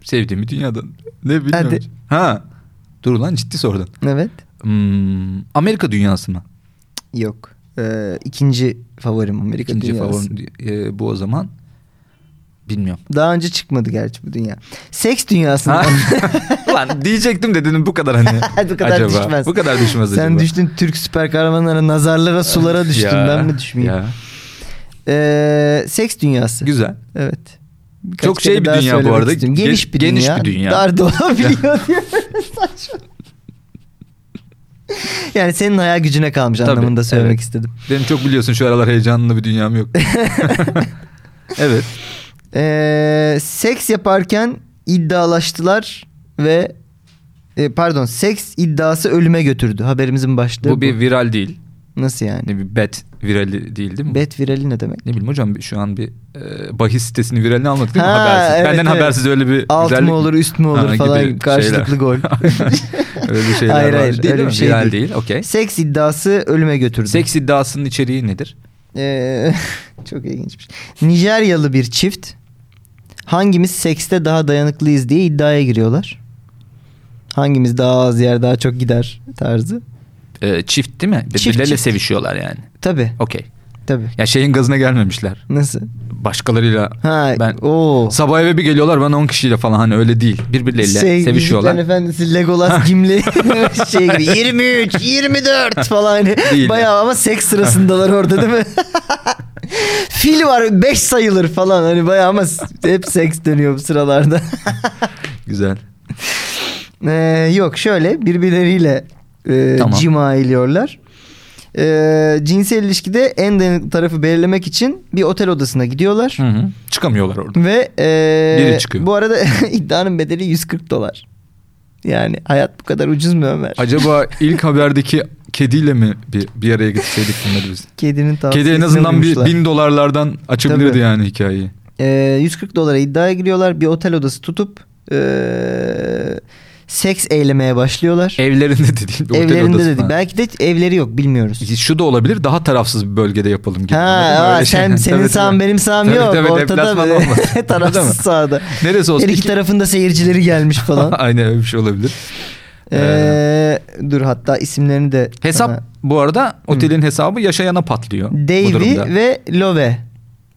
B: Sevdiğim bir dünyadan. Ne bilmiyorum.
A: Hadi.
B: Ha. Dur lan ciddi sordun.
A: evet
B: Hmm, Amerika dünyası mı?
A: yok Ee, ikinci favorim Amerika
B: İkinci
A: dünyası.
B: favorim e, bu o zaman. Bilmiyorum.
A: Daha önce çıkmadı gerçi bu dünya. Seks
B: Ha?
A: dünyasında.
B: lan diyecektim de dedim bu kadar hani.
A: bu kadar
B: acaba.
A: düşmez.
B: Bu kadar düşmez
A: Sen
B: acaba.
A: düştün Türk süper kahramanlara, nazarlara, sulara düştün.
B: Ya,
A: ben mi düşmeyeyim?
B: ya.
A: Ee, seks dünyası.
B: Güzel.
A: Evet. Birkaç
B: Çok şey
A: kere
B: bir
A: daha
B: dünya bu
A: söylemek
B: arada.
A: istiyorum. Geniş
B: Ge-
A: bir
B: geniş
A: dünya.
B: bir dünya.
A: Dar da olabiliyor diye. Saçma. Yani senin hayal gücüne kalmış
B: Tabii,
A: anlamında söylemek
B: evet.
A: istedim.
B: Benim çok biliyorsun şu aralar heyecanlı bir dünyam yok. evet.
A: Ee, seks yaparken iddialaştılar ve e, pardon seks iddiası ölüme götürdü. Haberimizin başlığı
B: Bu bir viral değil.
A: Nasıl yani?
B: Ne bir bet virali değil değil mi?
A: Bet virali ne demek?
B: Ne bileyim hocam bir- şu an bir e, bahis sitesinin viralini anlattık değil mi?
A: Ha,
B: habersiz.
A: evet,
B: Benden
A: evet.
B: habersiz öyle bir
A: Alt
B: güzellik
A: mı olur üst mü olur
B: Ha,
A: falan
B: gibi
A: karşılıklı
B: şeyler.
A: gol.
B: öyle şeyler
A: Hayır,
B: var.
A: hayır,
B: değil
A: öyle
B: mi?
A: bir şey
B: Viral
A: değil.
B: değil. Okey.
A: Seks iddiası ölüme götürdü.
B: Seks iddiasının içeriği nedir?
A: Ee, çok ilginçmiş. Nijeryalı bir çift hangimiz sekste daha dayanıklıyız diye iddiaya giriyorlar. Hangimiz daha az yer daha çok gider tarzı.
B: E, çift değil mi?
A: Çift,
B: Birbirleriyle
A: çift.
B: sevişiyorlar yani.
A: Tabii
B: Okey.
A: tabii.
B: Ya şeyin gazına gelmemişler.
A: Nasıl?
B: Başkalarıyla
A: Ha,
B: ben
A: oo.
B: sabah eve bir geliyorlar bana 10 kişiyle falan hani öyle değil. Birbirleriyle sevişiyorlar.
A: Yüzüklerin Efendisi Legolas Gimli şey gibi 23 24 falan hani
B: Değil.
A: bayağı ama seks sırasındalar orada değil mi? Fil var 5 sayılır falan hani bayağı ama s- hep seks dönüyor bu sıralarda.
B: Güzel.
A: Ee, yok şöyle birbirleriyle e,
B: Tamam.
A: cima ediyorlar. Ee, cinsel ilişkide en dayanıklı tarafı belirlemek için bir otel odasına gidiyorlar.
B: Hı hı. Çıkamıyorlar orada.
A: Ve e,
B: Biri çıkıyor.
A: bu arada iddianın bedeli 140 dolar. Yani hayat bu kadar ucuz mu Ömer?
B: Acaba ilk haberdeki kediyle mi bir, bir araya gitseydik bunları biz?
A: Kedinin tavsiyesine
B: Kedi en azından bir
A: uymuşlar.
B: bin dolarlardan açabilirdi
A: Tabii.
B: yani hikayeyi.
A: Ee, 140 dolara iddiaya giriyorlar. Bir otel odası tutup e, seks eylemeye başlıyorlar.
B: Evlerinde de değil. bir E, otel
A: Evlerinde
B: odası
A: de değil.
B: falan.
A: Belki de evleri yok bilmiyoruz.
B: Şu da olabilir daha tarafsız bir bölgede yapalım gibi.
A: Ha,
B: Anladın mı?
A: aa,
B: Öyle
A: sen
B: şey.
A: senin
B: Tabii,
A: sağın
B: tabii.
A: benim sağım
B: Tabii,
A: yok.
B: tabii,
A: Ortada
B: deplasman olmaz.
A: bir
B: Değil mi?
A: tarafsız sağda.
B: Neresi olsun?
A: Her iki tarafın da seyircileri gelmiş falan.
B: Aynen öyle bir şey olabilir.
A: Ee, dur hatta isimlerini de
B: Hesap
A: sana-
B: bu arada otelin hesabı yaşayana patlıyor. bu durumda.
A: Hmm. Davy ve Love.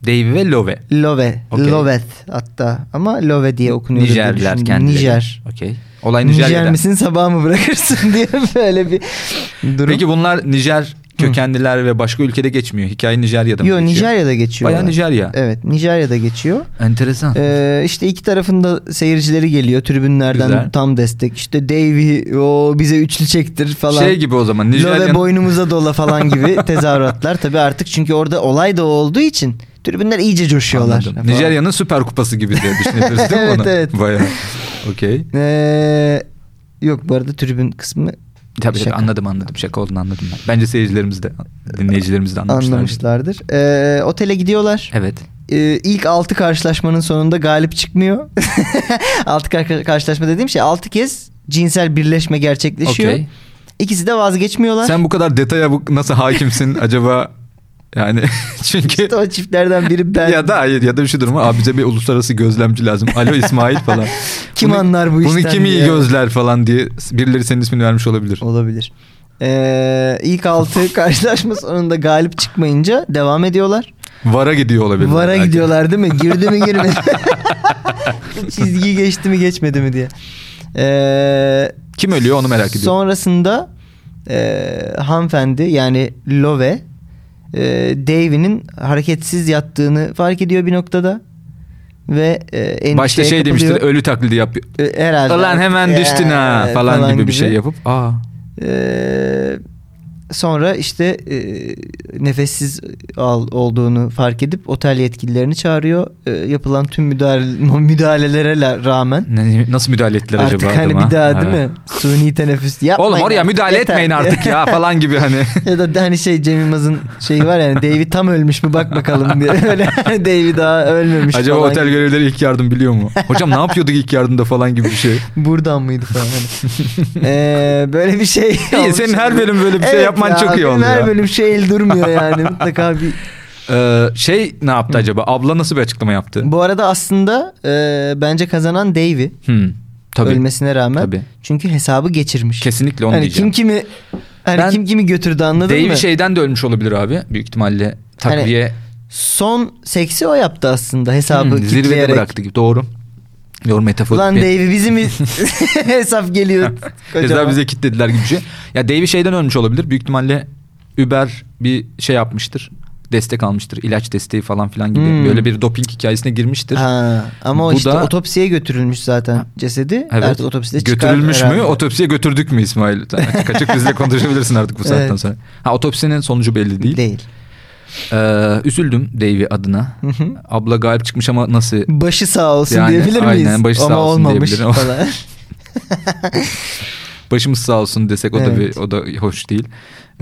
B: Davey ve Love.
A: Love.
B: Okey.
A: Loveth hatta ama Love diye okunuyor.
B: Nijerliler kendileri.
A: Nijer.
B: Okey. Olay Nijerya'da.
A: Nijer misin sabah mı bırakırsın diye böyle bir durum.
B: Peki bunlar Nijer kökenliler ve başka ülkede geçmiyor. Hikaye Nijerya'da mı
A: Yo
B: geçiyor?
A: Nijerya'da geçiyor.
B: Bayağı Nijerya.
A: Evet Nijerya'da geçiyor.
B: Enteresan.
A: Ee, işte iki tarafında seyircileri geliyor tribünlerden
B: Güzel.
A: tam destek. İşte Davy o bize üçlü çektir falan.
B: Şey gibi o zaman
A: Love
B: Nijerya'nın
A: boynumuza dola falan gibi tezahüratlar. Tabii artık çünkü orada olay da olduğu için tribünler iyice coşuyorlar.
B: Anladım.
A: falan.
B: Nijerya'nın süper kupası gibi diye düşünebilirsin değil mi
A: Evet,
B: bunu?
A: evet.
B: Bayağı. Okey.
A: Ee, yok bu arada tribün kısmı
B: Tabii tabii
A: Şaka.
B: anladım anladım. Şaka olduğunu anladım ben. Bence seyircilerimiz de dinleyicilerimiz de anlamışlar.
A: anlamışlardır. Ee, otele gidiyorlar.
B: Evet.
A: Ee, ilk 6 karşılaşmanın sonunda galip çıkmıyor. 6 karşılaşma dediğim şey 6 kez cinsel birleşme gerçekleşiyor.
B: Okey.
A: İkisi de vazgeçmiyorlar.
B: Sen bu kadar detaya bu nasıl hakimsin acaba? Yani çünkü
A: İşte o çiftlerden biri ben.
B: ya da hayır ya da bir şey durumu abi bize bir uluslararası gözlemci lazım. Alo İsmail falan.
A: Kim anlar bu
B: Bunu
A: işten
B: kim iyi
A: diye.
B: gözler falan diye birileri senin ismini vermiş olabilir.
A: Olabilir. Ee, ilk 6 karşılaşma sonunda galip çıkmayınca devam ediyorlar.
B: Vara gidiyor olabilir.
A: Vara gidiyorlar değil mi? Girdi mi girmedi mi? Çizgiyi geçti mi geçmedi mi diye. Ee,
B: Kim ölüyor onu merak ediyorum.
A: Sonrasında e, hanımefendi yani Love e, Davy'nin hareketsiz yattığını fark ediyor bir noktada. Ve e, endişeye
B: Başta şey
A: kapılıyor.
B: demiştir ölü taklidi yap.
A: E, herhalde.
B: Lan hemen
A: E,
B: düştün ha falan, gibi, bir şey yapıp. Aa.
A: Ee, sonra işte e, nefessiz al olduğunu fark edip otel yetkililerini çağırıyor. E, yapılan tüm müdahale, müdahalelere la- rağmen.
B: ne- Nasıl müdahale ettiler
A: Artık
B: acaba?
A: hani
B: adama?
A: bir daha değil
B: Evet.
A: mi? Suni teneffüs yapmayın.
B: Oğlum oraya
A: artık,
B: müdahale
A: yeter.
B: etmeyin artık ya falan gibi hani.
A: ya da hani şey Cem Yılmaz'ın şeyi var yani David tam ölmüş mü bak bakalım diye. Öyle David daha ölmemiş
B: Acaba
A: falan.
B: otel görevlileri ilk yardım biliyor mu? Hocam ne yapıyorduk ilk yardımda falan gibi bir şey.
A: Buradan mıydı falan. Hani. Ee, böyle bir şey.
B: İyi
A: olmuş.
B: senin her bölüm böyle bir şey
A: Evet
B: yapman
A: ya,
B: çok iyi
A: benim
B: oldu
A: Her
B: ya.
A: bölüm şey el durmuyor yani mutlaka bir.
B: Ee, şey ne yaptı acaba? Abla nasıl bir açıklama yaptı?
A: Bu arada aslında e, bence kazanan Davy.
B: Hmm, tabii.
A: Ölmesine rağmen.
B: Tabii.
A: Çünkü hesabı geçirmiş.
B: Kesinlikle onu
A: hani
B: diyeceğim.
A: Kim kimi hani
B: Ben- şey-
A: kim kimi götürdü anladın
B: Değil
A: mı? Hani
B: şeyden de ölmüş olabilir abi. Büyük ihtimalle takviye
A: Son seksi o yaptı aslında hesabı
B: hmm, zirvede
A: kitleyerek.
B: bıraktı gibi. Doğru. Doğru metafor.
A: Ulan
B: Bir-
A: Davey bizim hesap geliyor.
B: Keza
A: kocaman.
B: bize kitlediler gibi bir şey. Ya Davey şeyden ölmüş olabilir. Büyük ihtimalle Uber bir şey yapmıştır. Destek almıştır. ilaç desteği falan filan gibi.
A: Hmm.
B: Böyle bir doping hikayesine girmiştir.
A: Ha, ama o
B: Bu
A: işte
B: da-
A: otopsiye götürülmüş zaten cesedi.
B: Evet.
A: Artık otopside çıkar
B: Götürülmüş mü?
A: herhalde.
B: Otopsiye götürdük mü İsmail? Açık açık bizle konuşabilirsin artık bu saatten
A: Evet.
B: sonra. Ha otopsinin sonucu belli değil.
A: Değil.
B: Ee, üzüldüm Davey adına.
A: Hı hı.
B: Abla galip çıkmış ama nasıl?
A: Başı sağ olsun
B: Yani
A: diyebilir miyiz?
B: aynen, başı sağ
A: ama
B: olsun
A: olmamış
B: diyebilirim.
A: falan.
B: Başımız sağ olsun desek o da bir,
A: Evet.
B: o da hoş değil.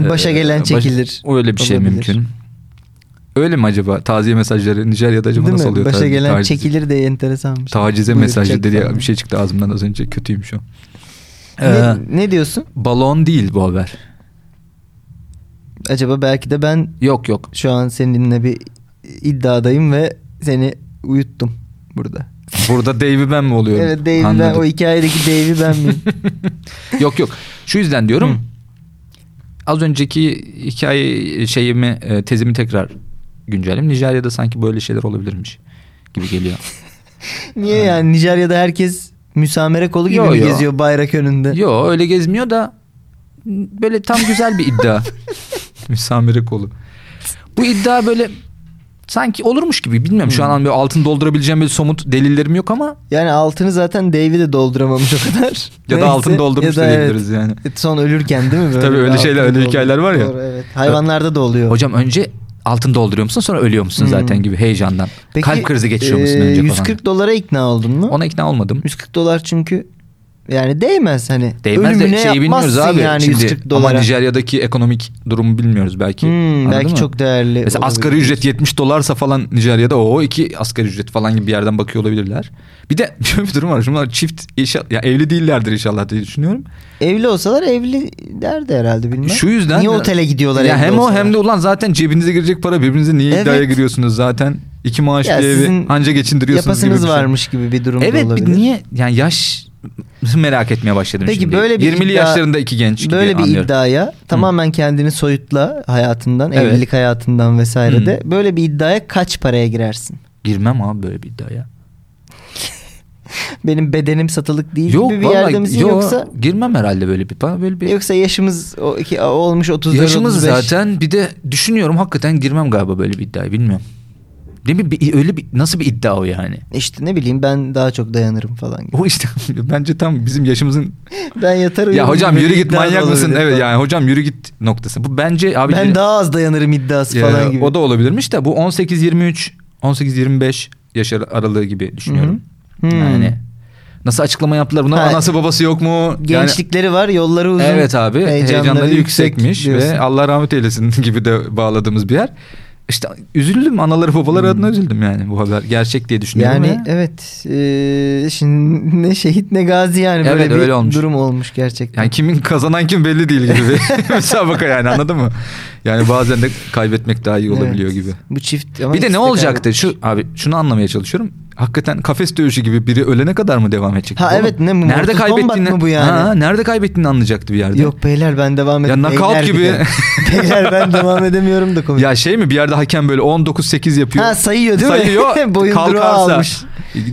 B: Ee,
A: Başa gelen çekilir.
B: O öyle bir şey
A: Olabilir.
B: mümkün. Öyle mi acaba? Taziye mesajları Nijerya'da acaba
A: Değil
B: nasıl
A: mi?
B: oluyor?
A: Başa
B: Taziye-
A: gelen
B: taciz-
A: çekilir de enteresanmış.
B: Tacize
A: Buyur,
B: mesajı
A: çek
B: dedi
A: falan.
B: bir şey çıktı ağzımdan az önce. Kötüymüş o. Ee,
A: Ne, ne diyorsun?
B: balon değil bu haber.
A: Acaba belki de ben
B: Yok yok.
A: şu an seninle bir iddiadayım ve seni uyuttum burada.
B: Burada Dave'i ben mi oluyorum?
A: Evet Dave'i ben,
B: Anladım.
A: o hikayedeki Dave'i ben miyim?
B: yok yok. Şu yüzden diyorum.
A: Hı.
B: Az önceki hikaye şeyimi e, tezimi tekrar güncelledim. Nijerya'da sanki böyle şeyler olabilirmiş gibi geliyor.
A: Niye yani Nijerya'da herkes müsamere kolu gibi
B: Yo,
A: mi
B: yo.
A: geziyor bayrak önünde?
B: Yo öyle gezmiyor da böyle tam güzel bir iddia. Müsamere kolu. Bu iddia böyle sanki olurmuş gibi bilmiyorum şu an hani böyle altın doldurabileceğim böyle somut delillerim yok ama
A: Yani altını zaten Dave'i de dolduramamış o kadar.
B: ya da
A: Neyse.
B: altın doldurmuş
A: Ya da
B: diyebiliriz yani.
A: evet. E, Son ölürken değil mi? Böyle
B: Tabii
A: bir
B: öyle
A: altını
B: şeyler, öyle
A: doldur-
B: hikayeler var ya.
A: Doğru, evet. Hayvanlarda da oluyor.
B: Hocam önce altın dolduruyor musun sonra ölüyor musun
A: Hmm.
B: zaten gibi heyecandan.
A: Peki,
B: Kalp krizi geçiriyor musun
A: e,
B: önce falan.
A: 140 dolara ikna oldun mu?
B: Ona ikna olmadım.
A: 140 dolar çünkü yani değmez hani.
B: Değmez de
A: Ölümüne
B: şeyi bilmiyoruz
A: yapmazsın
B: abi.
A: yani
B: Şimdi,
A: 140
B: ama
A: dolara.
B: Nijerya'daki ekonomik durumu bilmiyoruz belki.
A: Hmm,
B: Anladın
A: belki
B: mı?
A: çok değerli.
B: Mesela
A: olabilir.
B: asgari ücret 70 dolarsa falan Nijerya'da o iki asgari ücret falan gibi bir yerden bakıyor olabilirler. Bir de şöyle bir durum var. Şunlar çift inşa- ya evli değillerdir inşallah diye düşünüyorum.
A: Evli olsalar evli derdi herhalde bilmem.
B: Şu yüzden
A: Niye otele gidiyorlar
B: Ya
A: evli
B: hem o
A: olsalar?
B: hem de ulan zaten cebinize girecek para birbirinize niye
A: Evet.
B: iddiaya giriyorsunuz zaten? iki maaş
A: Ya
B: bir evi
A: sizin
B: anca geçindiriyorsunuz gibi.
A: Yapasınız
B: bir şey.
A: varmış gibi bir durum da
B: Evet bir
A: olabilir.
B: niye yani yaş merak etmeye başladım
A: Peki
B: şimdi.
A: böyle bir
B: 20'li
A: iddia-
B: yaşlarında iki genç gibi
A: Böyle bir
B: anlıyorum.
A: iddiaya tamamen kendini soyutla hayatından,
B: Evet.
A: evlilik hayatından
B: Hı.
A: vesaire de böyle bir iddiaya kaç paraya girersin?
B: Girmem abi böyle bir iddiaya.
A: Benim bedenim satılık değil
B: Yok
A: gibi bir
B: vallahi
A: yerde misin
B: yok,
A: yoksa
B: girmem herhalde böyle bir bana böyle bir
A: yoksa yaşımız o iki, olmuş 34
B: Yaşımız
A: 35.
B: zaten bir de düşünüyorum hakikaten girmem galiba böyle bir iddiaya bilmiyorum. Değil mi? Bir- öyle bir, nasıl bir iddia o yani?
A: İşte ne bileyim ben daha çok dayanırım falan. gibi.
B: O işte bence tam bizim yaşımızın
A: Ben yatar uyurum.
B: ya hocam
A: gibi
B: yürü
A: bir
B: git
A: iddia da
B: manyak mısın?
A: olabilir
B: Evet
A: falan.
B: yani hocam yürü git noktası. Bu bence abi
A: Ben daha az dayanırım iddiası
B: Ya,
A: falan gibi.
B: o da olabilirmiş de bu 18 23 18 25 yaş ar- aralığı gibi düşünüyorum.
A: Hı hı. Hmm.
B: Yani Nasıl açıklama yaptılar buna?
A: Ha,
B: Anası babası yok mu? Yani-
A: Gençlikleri var, yolları uzun.
B: Evet abi heyecanları
A: yüksek
B: yüksekmiş
A: diyorsun.
B: ve Allah rahmet eylesin gibi de bağladığımız bir yer. İşte üzüldüm anaları babaları adına üzüldüm yani bu haber gerçek diye düşünüyorum.
A: Hmm. Yani
B: ve-
A: evet. eee, şimdi ne şehit ne gazi yani
B: Evet,
A: böyle bir
B: öyle olmuş.
A: durum olmuş gerçekten.
B: yani kimin kazanan kim belli değil gibi bir müsabaka yani anladın mı? Yani bazen de kaybetmek daha iyi olabiliyor
A: Evet.
B: gibi.
A: Bu çift ama
B: bir de
A: ikisi
B: ne olacaktı
A: kaybetmiş.
B: şu abi şunu anlamaya çalışıyorum. Hakikaten kafes dövüşü gibi biri ölene kadar mı devam edecek?
A: Ha,
B: Oğlum,
A: evet, ne,
B: nerede
A: Mortal Kombat
B: kaybettiğini
A: mı bu yani?
B: Ha, nerede kaybettiğini anlayacaktı bir yerde.
A: Yok beyler ben devam
B: Ya
A: edemiyorum.
B: knockout gibi.
A: beyler ben devam edemiyorum da komik.
B: Ya şey mi bir yerde hakem böyle 19-8 yapıyor.
A: ha sayıyor değil mi?
B: sayıyor.
A: Boyun durağı
B: kalkarsa.
A: almış.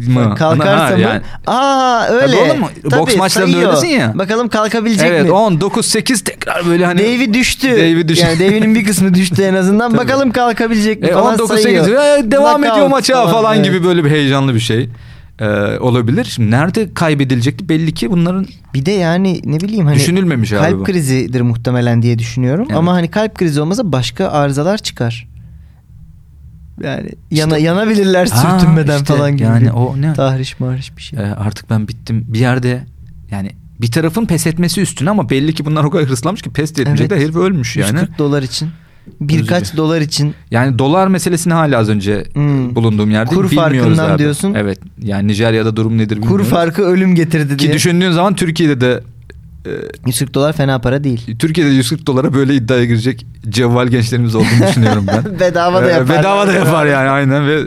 B: Mı?
A: Kalkarsa
B: Ana- ha,
A: mı? Aa öyle.
B: Tabii oğlum, boks maçlarında
A: sayıyor.
B: öylesin ya.
A: Bakalım kalkabilecek
B: evet
A: mi?
B: 10 9 8 tekrar böyle hani
A: Dave'i düştü.
B: Dave'i düştü.
A: Yani Dave'nin bir kısmı düştü en azından. Bakalım kalkabilecek mi
B: e,
A: falan
B: 19
A: sayıyor.
B: 8 e, devam
A: Knockout
B: ediyor maça falan,
A: evet.
B: gibi böyle bir heyecanlı bir şey e, olabilir. Şimdi nerede kaybedilecekti belli ki bunların
A: Bir de yani ne bileyim hani
B: Düşünülmemiş abi
A: kalp
B: bu.
A: krizidir muhtemelen diye düşünüyorum.
B: Evet.
A: Ama hani kalp krizi olmasa başka arızalar çıkar. Yani yana yanabilirler
B: Aa,
A: sürtünmeden
B: işte
A: falan gibi.
B: yani
A: bir
B: o ne?
A: Tahriş mahriş bir şey.
B: e, artık ben bittim bir yerde yani bir tarafın pes etmesi üstüne ama belli ki bunlar o kadar hırslanmış ki pes de etmeyecek
A: Evet.
B: de herif ölmüş yani.
A: 140 dolar için. Birkaç
B: Üzücü.
A: dolar için.
B: Yani dolar meselesini hala az önce
A: Hmm.
B: bulunduğum yerde
A: Kur
B: bilmiyoruz
A: farkından
B: abi.
A: diyorsun.
B: Evet. Yani Nijerya'da durum nedir
A: Kur
B: bilmiyoruz.
A: farkı ölüm getirdi diye.
B: ki düşündüğün zaman Türkiye'de de e,
A: 140 dolar fena para değil.
B: Türkiye'de 140 dolara böyle iddiaya girecek cevval gençlerimiz olduğunu düşünüyorum ben.
A: Bedava da
B: Ee,
A: yapar.
B: Bedava da yapar yani aynen ve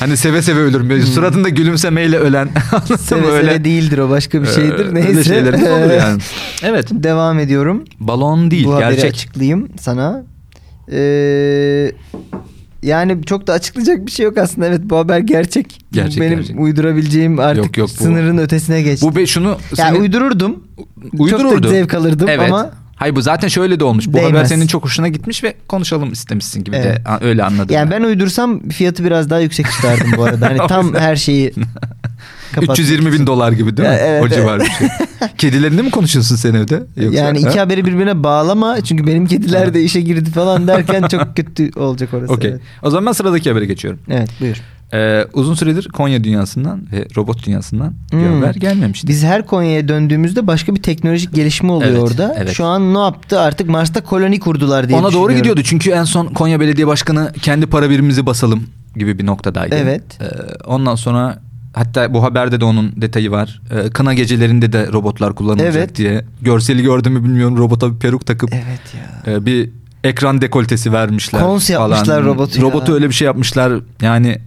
B: hani seve seve ölür. Böyle Suratında gülümsemeyle ölen. Anladın mı?
A: Hmm. Seve seve
B: Öyle-
A: değildir o başka bir
B: Ee,
A: şeydir.
B: öyle
A: Neyse.
B: şeylerimiz olur yani. Evet.
A: Devam ediyorum.
B: Balon değil
A: Bu haberi
B: gerçek.
A: açıklayayım sana. Ee, yani çok da açıklayacak bir şey yok aslında. Evet bu haber gerçek. Bu
B: Gerçek,
A: Benim
B: gerçek.
A: uydurabileceğim artık
B: Yok, yok, bu-
A: sınırın ötesine geçti.
B: Bu be şunu
A: ya
B: senin-
A: uydururdum. Çok
B: uydururdu.
A: da zevk alırdım
B: evet.
A: ama
B: Hayır bu zaten şöyle de olmuş. Bu haber
A: Değmez.
B: senin çok hoşuna gitmiş ve konuşalım istemişsin gibi
A: Evet.
B: de a- öyle anladım.
A: yani
B: ben.
A: ben uydursam fiyatı biraz daha yüksek tutardım bu arada. Hani tam her şeyi kapatmak
B: 320 bin dolar gibi değil mi?
A: Ya, evet,
B: o civar bir şey. Kedilerinde mi konuşuyorsun sen evde? Yoksa,
A: yani iki
B: Ha?
A: haberi birbirine bağlama çünkü benim kediler de işe girdi falan derken çok kötü olacak orası.
B: Okey.
A: Evet.
B: O zaman ben sıradaki habere geçiyorum.
A: evet buyur.
B: Ee, uzun süredir Konya dünyasından ve robot dünyasından bir
A: Hmm.
B: haber gelmemişti.
A: Biz her Konya'ya döndüğümüzde başka bir teknolojik gelişme oluyor
B: Evet,
A: orada.
B: evet.
A: Şu an ne yaptı? Artık Mars'ta koloni kurdular diye
B: Ona doğru
A: düşünüyorum.
B: gidiyordu çünkü en son Konya Belediye Başkanı kendi para birimimizi basalım gibi bir noktadaydı.
A: Evet.
B: Ee, ondan sonra hatta bu haberde de onun detayı var. Ee, kına gecelerinde de robotlar kullanılacak
A: Evet.
B: diye. Görseli gördüm mü bilmiyorum robota bir peruk takıp
A: Evet ya.
B: e, bir ekran dekoltesi vermişler
A: Kons yapmışlar
B: falan.
A: robotu ya.
B: Robotu öyle bir şey yapmışlar yani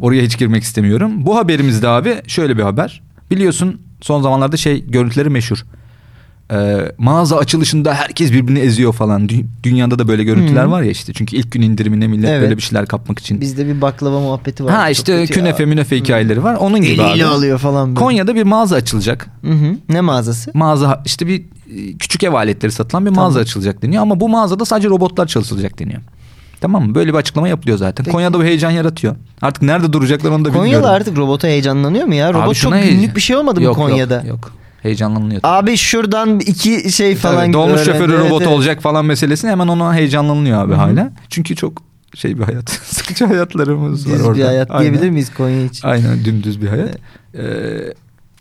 B: oraya hiç girmek istemiyorum. Bu haberimizde abi şöyle bir haber. Biliyorsun son zamanlarda şey görüntüleri meşhur. Ee, mağaza açılışında herkes birbirini eziyor falan. Dü- dünyada da böyle görüntüler
A: Hı.
B: var ya işte. Çünkü ilk gün indirimine millet
A: Evet.
B: böyle bir şeyler kapmak için.
A: Bizde bir baklava muhabbeti var.
B: ha
A: Çok
B: işte
A: kötü ya. Hmm.
B: künefe münefe hikayeleri var. Onun gibi abi.
A: Eliyle alıyor falan böyle.
B: Konya'da bir mağaza açılacak.
A: Hı hı. Ne mağazası?
B: Mağaza işte bir e, küçük ev aletleri satılan bir mağaza
A: Tamam.
B: açılacak deniyor ama bu mağazada sadece robotlar çalışılacak deniyor. Tamam mı? Böyle bir açıklama yapılıyor zaten.
A: Peki.
B: Konya'da bu heyecan yaratıyor. Artık nerede duracaklar onu da bilmiyorum.
A: Konyalı artık robota heyecanlanıyor mu ya?
B: Abi
A: Robot çok
B: şuna heyecan-
A: günlük bir şey olmadı mı
B: Yok, yok,
A: Konya'da?
B: Yok, Heyecanlanılıyor.
A: Abi şuradan iki şey
B: E, Tabii,
A: falan. gibi
B: dolmuş
A: öğrendi.
B: şoförü
A: Evet,
B: robot
A: evet.
B: olacak falan meselesine hemen ona heyecanlanılıyor abi
A: Hı hı.
B: hala. Çünkü çok şey bir hayat. Sıkıcı hayatlarımız var
A: Düz
B: orada.
A: bir hayat
B: Aynen.
A: diyebilir miyiz Konya için?
B: Aynen dümdüz bir hayat. Ee,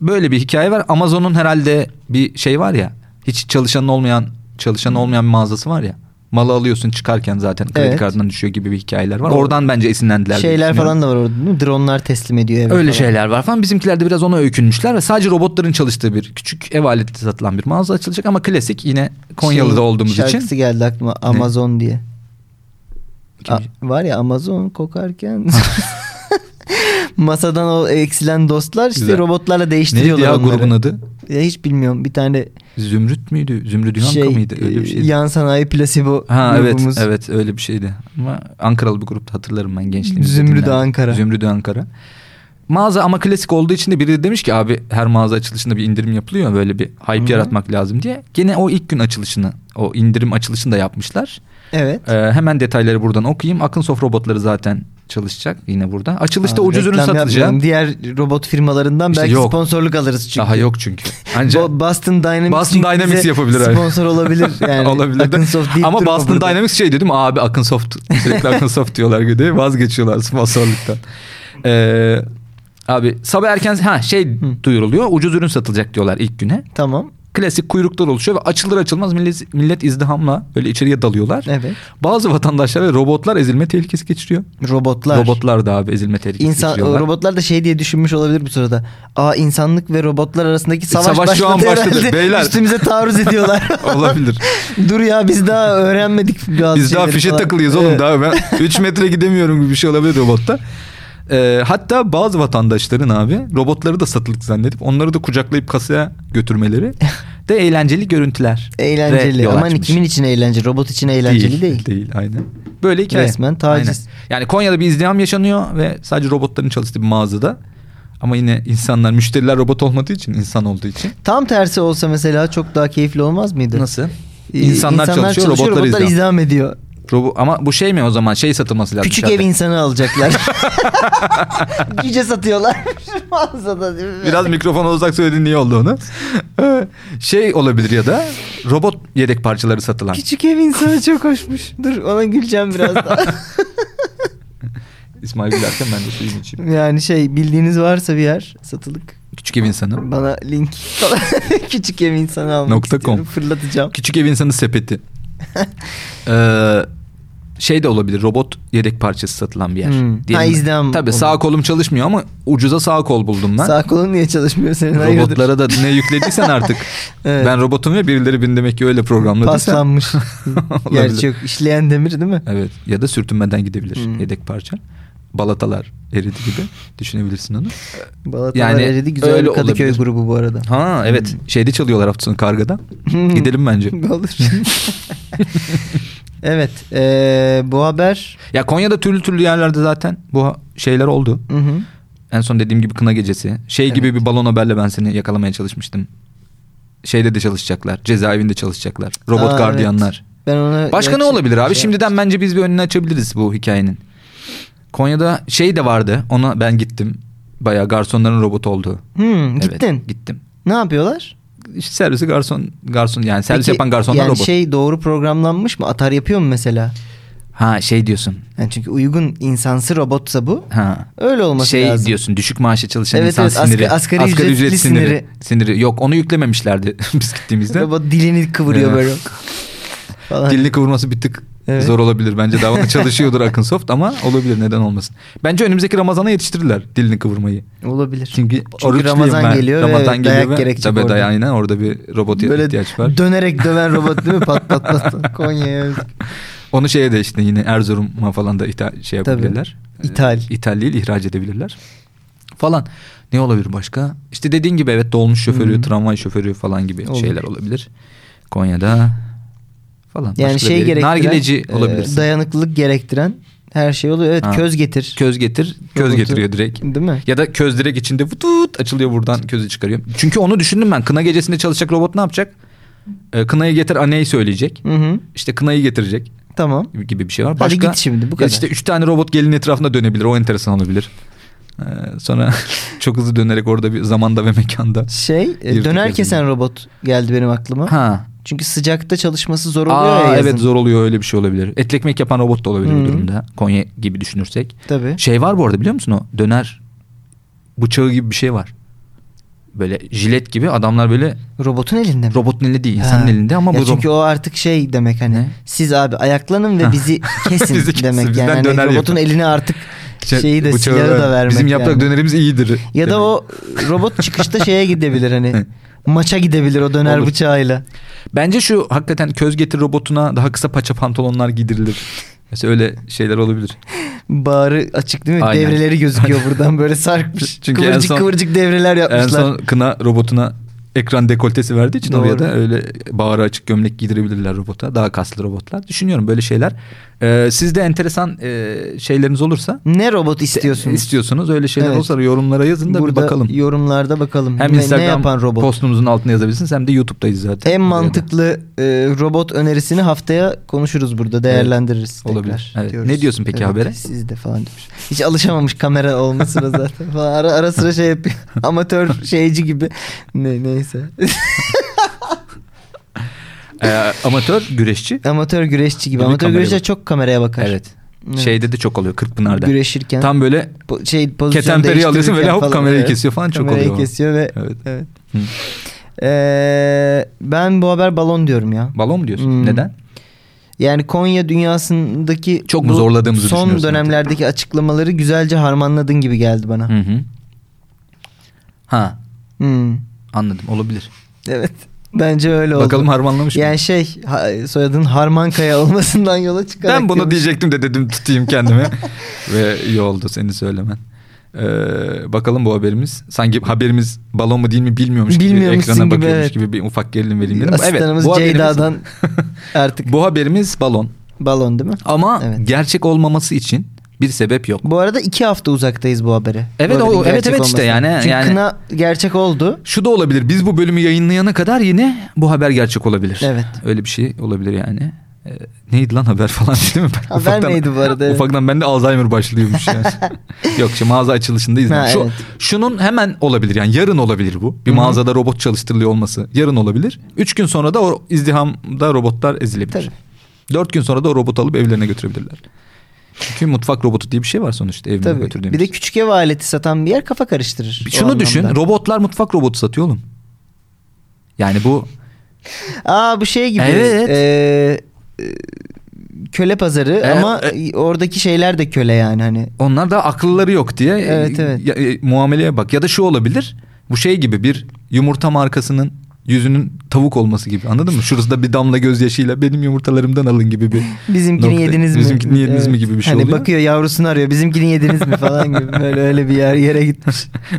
B: böyle bir hikaye var. Amazon'un herhalde bir şey var ya. Hiç çalışanın olmayan çalışan olmayan bir mağazası var ya. Malı alıyorsun çıkarken zaten kredi
A: Hmm. Evet.
B: kartından düşüyor gibi bir hikayeler var.
A: Doğru.
B: Oradan bence esinlendiler. diye
A: Şeyler
B: düşünüyorum.
A: falan da var orada değil mi? Dronlar teslim ediyor eve
B: Öyle
A: falan. Şey,
B: şeyler var falan. Bizimkiler de biraz ona öykünmüşler ve sadece robotların çalıştığı bir küçük ev aleti satılan bir mağaza açılacak ama klasik yine Konyalı'da
A: Şeyin
B: olduğumuz
A: Şarkısı
B: için.
A: geldi aklıma Amazon diye.
B: Kim-
A: A- var ya Amazon kokarken masadan o eksilen dostlar işte
B: Güzel.
A: robotlarla
B: Neydi
A: değiştiriyorlar
B: ya
A: onları.
B: grubun adı?
A: Ya hiç bilmiyorum bir tane
B: Zümrüt müydü? Zümrüt Yuhanka
A: şey,
B: mıydı? Öyle bir
A: e,
B: şeydi.
A: yan sanayi plasibo
B: Ha evet
A: grubumuz.
B: evet öyle bir şeydi. Ama Ankaralı bir grupta hatırlarım ben gençliğimde.
A: Zümrüdü
B: dinlerdim.
A: Ankara.
B: Zümrüdü Ankara. Mağaza ama klasik olduğu için de biri de demiş ki abi her mağaza açılışında bir indirim yapılıyor böyle bir hype
A: Hı.
B: yaratmak lazım diye. Gene o ilk gün açılışını o indirim açılışını da yapmışlar.
A: Evet.
B: Ee, hemen detayları buradan okuyayım. Akın Sof robotları zaten çalışacak yine burada. Açılışta
A: Aa,
B: ucuz ürün
A: reklam
B: satılacak.
A: yapmayalım. Diğer robot firmalarından
B: İşte
A: belki
B: yok.
A: sponsorluk alırız çünkü.
B: Daha yok çünkü. Ancak
A: Bo- Boston Dynamics,
B: Boston
A: çünkü
B: Dynamics
A: bize
B: yapabilir abi.
A: Sponsor olabilir yani.
B: Olabilir de.
A: Akınsoft deyip
B: Ama
A: durma
B: Boston
A: burada.
B: Dynamics şey dedim abi Akın Soft sürekli Akın Soft diyorlar gibi vazgeçiyorlar sponsorluktan. Ee, Abi sabah erken ha şey duyuruluyor. Ucuz ürün satılacak diyorlar ilk güne.
A: Tamam.
B: Klasik kuyruklar oluşuyor ve açılır açılmaz millet, millet izdihamla böyle içeriye dalıyorlar.
A: Evet.
B: Bazı vatandaşlar ve robotlar ezilme tehlikesi geçiriyor.
A: Robotlar.
B: Robotlar da abi ezilme tehlikesi
A: İnsan,
B: geçiriyorlar.
A: robotlar da şey diye düşünmüş olabilir bu sırada. Aa insanlık ve robotlar arasındaki savaş,
B: savaş şu an
A: başladı
B: başladı.
A: herhalde.
B: Beyler."
A: Üstümüze taarruz ediyorlar.
B: Olabilir.
A: Dur ya biz daha öğrenmedik bazı
B: Biz daha
A: şeyleri
B: fişe
A: falan.
B: takılıyız oğlum
A: Evet.
B: daha ben 3 metre gidemiyorum gibi bir şey olabilir robotta. Ee, hatta bazı vatandaşların abi robotları da satılık zannedip onları da kucaklayıp kasaya götürmeleri de eğlenceli görüntüler. Ve
A: Eğlenceli.
B: yol
A: Aman
B: açmış.
A: kimin için eğlence? Robot için eğlenceli değil.
B: Değil aynen. Böyle hikaye.
A: Resmen taciz.
B: Aynen. Yani Konya'da bir izdiham yaşanıyor ve sadece robotların çalıştığı bir mağazada. Ama yine insanlar müşteriler robot olmadığı için insan olduğu için.
A: Tam tersi olsa mesela çok daha keyifli olmaz mıydı?
B: Nasıl?
A: Ee,
B: İnsanlar, çalışıyor, robotlar,
A: robotlar
B: izdiham.
A: izdiham ediyor.
B: Robo- ama bu şey mi o zaman şey satılması lazım.
A: Küçük
B: dışarıda.
A: ev insanı alacaklar. Cüce satıyorlar. Mağazada değil mi?
B: Biraz mikrofona uzak söyledin niye oldu onu? şey olabilir ya da robot yedek parçaları satılan.
A: Küçük ev insanı çok hoşmuş. Dur ona güleceğim biraz daha.
B: İsmail gülerken ben de suyumu içeyim.
A: yani şey bildiğiniz varsa bir yer satılık.
B: Küçük ev insanı.
A: Bana link falan. Küçük ev insanı almak
B: Nokta
A: istiyorum.
B: com.
A: Fırlatacağım.
B: Küçük ev insanı sepeti. Ee, şey de olabilir robot yedek parçası satılan bir yer.
A: Hmm.
B: Diyelim-
A: Ha, izdiham
B: Tabii
A: olur.
B: sağ kolum çalışmıyor ama ucuza sağ kol buldum ben.
A: Sağ kolun niye çalışmıyor senin? Hayırdır?
B: Robotlara da ne yüklediysen artık.
A: Evet.
B: Ben robotum ve birileri beni demek ki öyle programladıysa.
A: Paslanmış.
B: Olabilir.
A: Gerçi yok. İşleyen demir değil mi?
B: Evet ya da sürtünmeden gidebilir
A: Hmm.
B: yedek parça. Balatalar eridi gibi düşünebilirsin onu.
A: Balatalar
B: Yani
A: eridi. Güzel
B: öyle
A: bir Kadıköy
B: olabilir.
A: grubu bu arada.
B: Ha evet şeyde çalıyorlar hafta sonu kargada.
A: Hmm.
B: Gidelim bence.
A: Olur. evet. eee, bu haber
B: Ya Konya'da türlü türlü yerlerde zaten bu ha- şeyler oldu.
A: Hı hı.
B: En son dediğim gibi kına gecesi. Şey
A: Evet.
B: gibi bir balon haberle ben seni yakalamaya çalışmıştım. Şeyde de çalışacaklar. Cezaevinde çalışacaklar. Robot
A: Aa,
B: gardiyanlar.
A: evet. Ben ona
B: Başka ne
A: gerçi-
B: olabilir abi?
A: şey-
B: Şimdiden bence biz bir önünü açabiliriz bu hikayenin. Konya'da şey de vardı. Ona ben gittim. Bayağı garsonların robot olduğu.
A: Hmm,
B: Evet,
A: gittin.
B: gittim.
A: Ne yapıyorlar?
B: İşte servisi garson garson yani servis
A: Peki,
B: yapan garsonlar
A: yani
B: robot.
A: şey doğru programlanmış mı? Atar yapıyor mu mesela?
B: Ha şey diyorsun.
A: Yani çünkü uygun insansı robotsa bu.
B: Ha.
A: Öyle olması
B: şey
A: lazım.
B: diyorsun düşük maaşa çalışan
A: Evet,
B: insan
A: evet, asgari-
B: siniri.
A: asgari ücretli
B: siniri. Siniri. Yok onu yüklememişlerdi biz gittiğimizde.
A: Robot dilini kıvırıyor
B: Evet.
A: böyle. Falan.
B: Dilini kıvırması bir tık
A: Evet.
B: zor olabilir. Bence davada çalışıyordur Akınsoft ama olabilir neden olmasın. Bence önümüzdeki Ramazan'a yetiştirirler dilini kıvırmayı.
A: Olabilir.
B: Çünkü,
A: Çünkü
B: oruçluyum
A: Ramazan
B: ben.
A: geliyor ve
B: Ramazan
A: evet,
B: geliyor
A: dayak
B: ve
A: gerekecek
B: tabii
A: orada.
B: dayak- aynen orada bir robot
A: böyle
B: ihtiyaç var.
A: dönerek döven robot değil mi? Pat pat pat. pat. Konya'ya özgü.
B: Onu şeye de işte yine Erzurum'a falan da itha- şey
A: Tabii.
B: yapabilirler.
A: İthal.
B: Ee, İthal değil ihraç edebilirler. Falan. Ne olabilir başka? İşte dediğin gibi evet dolmuş şoförü,
A: Hı hı.
B: tramvay şoförü falan gibi
A: Olur.
B: şeyler olabilir. Konya'da falan.
A: Yani
B: Başka
A: şey
B: bir-
A: gerektiren.
B: Nargileci
A: e,
B: olabilirsin.
A: Dayanıklılık gerektiren her şey oluyor. Evet
B: Ha.
A: köz getir.
B: Köz getir. Köz
A: Robotu-
B: getiriyor direkt.
A: Değil mi?
B: Ya da köz direkt içinde vutut açılıyor buradan közü çıkarıyor. Çünkü onu düşündüm ben. Kına gecesinde çalışacak robot ne yapacak? Ee, kınayı getir aneyi söyleyecek.
A: Hı hı.
B: İşte kınayı getirecek.
A: Tamam.
B: gibi bir şey var.
A: Hadi
B: Başka,
A: git şimdi, bu
B: Ya
A: kadar.
B: İşte üç tane robot gelin etrafında dönebilir. O enteresan olabilir. Ee, sonra çok hızlı dönerek orada bir zamanda ve mekanda.
A: Şey e,
B: Yırtık
A: döner
B: yazılı.
A: kesen robot geldi benim aklıma.
B: Ha.
A: Çünkü sıcakta çalışması zor oluyor ya
B: Aa,
A: yazın.
B: evet zor oluyor öyle bir şey olabilir. Etli ekmek yapan robot da olabilir
A: Hı.
B: bu durumda. Konya gibi düşünürsek.
A: Tabii.
B: Şey var bu arada biliyor musun o döner bıçağı gibi bir şey var. Böyle jilet gibi adamlar böyle
A: Robotun elinde mi?
B: robotun elinde değil insanın
A: Ha.
B: elinde ama
A: Ya
B: bu
A: çünkü o artık şey demek hani
B: Ne?
A: siz abi ayaklanın ve bizi kesin
B: Bizi kesin,
A: demek
B: bizden
A: yani Hani
B: döner yapın.
A: robotun eline artık
B: Şey,
A: şeyi de
B: bıçağı
A: silahı da
B: ver.
A: vermek
B: Bizim yaprak
A: yani.
B: dönerimiz iyidir.
A: Ya da
B: demek.
A: o robot çıkışta şeye gidebilir hani maça gidebilir o döner
B: Olur.
A: bıçağıyla.
B: Bence şu hakikaten köz getir robotuna daha kısa paça pantolonlar giydirilir. Mesela öyle şeyler olabilir.
A: Bağrı açık değil mi?
B: Aynen.
A: Devreleri gözüküyor buradan böyle sarkmış.
B: Çünkü en
A: kıvırcık
B: son-
A: kıvırcık devreler yapmışlar.
B: En son kına robotuna ekran dekoltesi verdiği için
A: Doğru.
B: oraya da öyle bağrı açık gömlek giydirebilirler robota. Daha kaslı robotlar. Düşünüyorum böyle şeyler. Ee, sizde enteresan e, şeyleriniz olursa
A: Ne robot istiyorsunuz?
B: istiyorsunuz öyle şeyler
A: Evet.
B: olursa yorumlara yazın da
A: Burada
B: bir bakalım.
A: yorumlarda bakalım.
B: Hem
A: ne,
B: Instagram
A: ne yapan robot?
B: postumuzun altına yazabilirsiniz hem de YouTube'dayız zaten.
A: En
B: Oraya da
A: mantıklı e, robot önerisini haftaya konuşuruz burada değerlendiririz.
B: Evet,
A: tekrar
B: olabilir. Evet.
A: diyoruz.
B: Ne diyorsun peki
A: Evet,
B: habere?
A: Siz de falan demiş. Hiç alışamamış kamera olmasına zaten. Falan. Ara, ara sıra şey yapıyor. Amatör şeyci gibi. Ne, neyse.
B: Ee, amatör güreşçi.
A: Amatör güreşçi gibi.
B: Değil mi?
A: Amatör
B: Kameraya
A: güreşçi
B: bak.
A: çok kameraya bakar.
B: Evet.
A: Evet.
B: Şeyde de çok oluyor Kırkpınar'da.
A: Güreşirken
B: Tam böyle
A: po- şey pozisyon
B: ketemperi alıyorsun böyle
A: değiştirirken
B: hop
A: falan,
B: kamerayı
A: evet.
B: kesiyor falan çok
A: Kamerayı
B: oluyor.
A: kesiyor ve
B: Evet.
A: evet.
B: Hı.
A: Ee, ben bu haber balon diyorum ya.
B: Balon mu diyorsun?
A: Hmm.
B: Neden?
A: Yani Konya dünyasındaki
B: Çok mu
A: bu
B: zorladığımızı
A: son
B: düşünüyorsun
A: dönemlerdeki açıklamaları güzelce harmanladın gibi geldi bana.
B: Hı hı. Ha
A: Hmm.
B: anladım olabilir.
A: Evet. Bence öyle oldu.
B: Bakalım harmanlamış mı?
A: Yani şey ha- soyadın Harmankaya olmasından yola çıkarak.
B: Ben bunu
A: diyormuş.
B: diyecektim de dedim tutayım kendimi. Ve iyi oldu seni söylemen. Ee, bakalım bu haberimiz. Sanki haberimiz balon mu değil mi bilmiyormuş gibi
A: Bilmiyormuşsun
B: ekrana
A: gibi,
B: bakıyormuş
A: evet.
B: gibi bir ufak gerilim vereyim dedim.
A: Asistanımız
B: bu haberimiz-
A: Ceyda'dan artık
B: bu haberimiz balon.
A: balon değil mi?
B: Ama
A: Evet.
B: gerçek olmaması için bir sebep yok.
A: Bu arada iki hafta uzaktayız bu habere.
B: Evet,
A: Bu haberin
B: o- evet,
A: gerçek
B: evet işte
A: olmasına.
B: yani-
A: Çünkü
B: yani-
A: kına gerçek oldu.
B: Şu da olabilir. Biz bu bölümü yayınlayana kadar yine bu haber gerçek olabilir.
A: Evet.
B: Öyle bir şey olabilir yani. Ee, neydi lan haber falan değil mi? Ben
A: Haber neydi bu arada, evet.
B: Ufaktan bende Alzheimer başlıyormuş yani. Yok şimdi mağaza açılışında izledim.
A: Ha,
B: Şu,
A: evet.
B: Şunun hemen olabilir yani yarın olabilir bu. Bir
A: Hı hı.
B: mağazada robot çalıştırılıyor olması yarın olabilir. Üç gün sonra da o izdihamda robotlar ezilebilir.
A: Tabii.
B: Dört gün sonra da o robotu alıp evlerine götürebilirler. Çünkü mutfak robotu diye bir şey var sonuçta evine
A: Tabii.
B: götürdüğümüz.
A: Bir de küçük ev aleti satan bir yer kafa karıştırır. o
B: Şunu
A: anlamda.
B: düşün robotlar mutfak robotu satıyor oğlum. Yani bu
A: Aa bu şey gibi.
B: Evet. E,
A: e, e, köle pazarı ama oradaki şeyler de köle yani hani.
B: onlar da akılları yok diye e,
A: Evet, evet.
B: ya- e, muameleye bak. Ya da şu olabilir bu şey gibi bir yumurta markasının yüzünün tavuk olması gibi anladın mı? Şurasında bir damla gözyaşıyla benim yumurtalarımdan alın gibi bir
A: Bizimkini
B: nokta.
A: yediniz mi?
B: Bizimkini yediniz mi
A: Evet.
B: gibi bir şey
A: Hani
B: oluyor.
A: bakıyor yavrusunu arıyor. Bizimkini yediniz mi falan gibi. Böyle öyle bir yer yere gitmiş.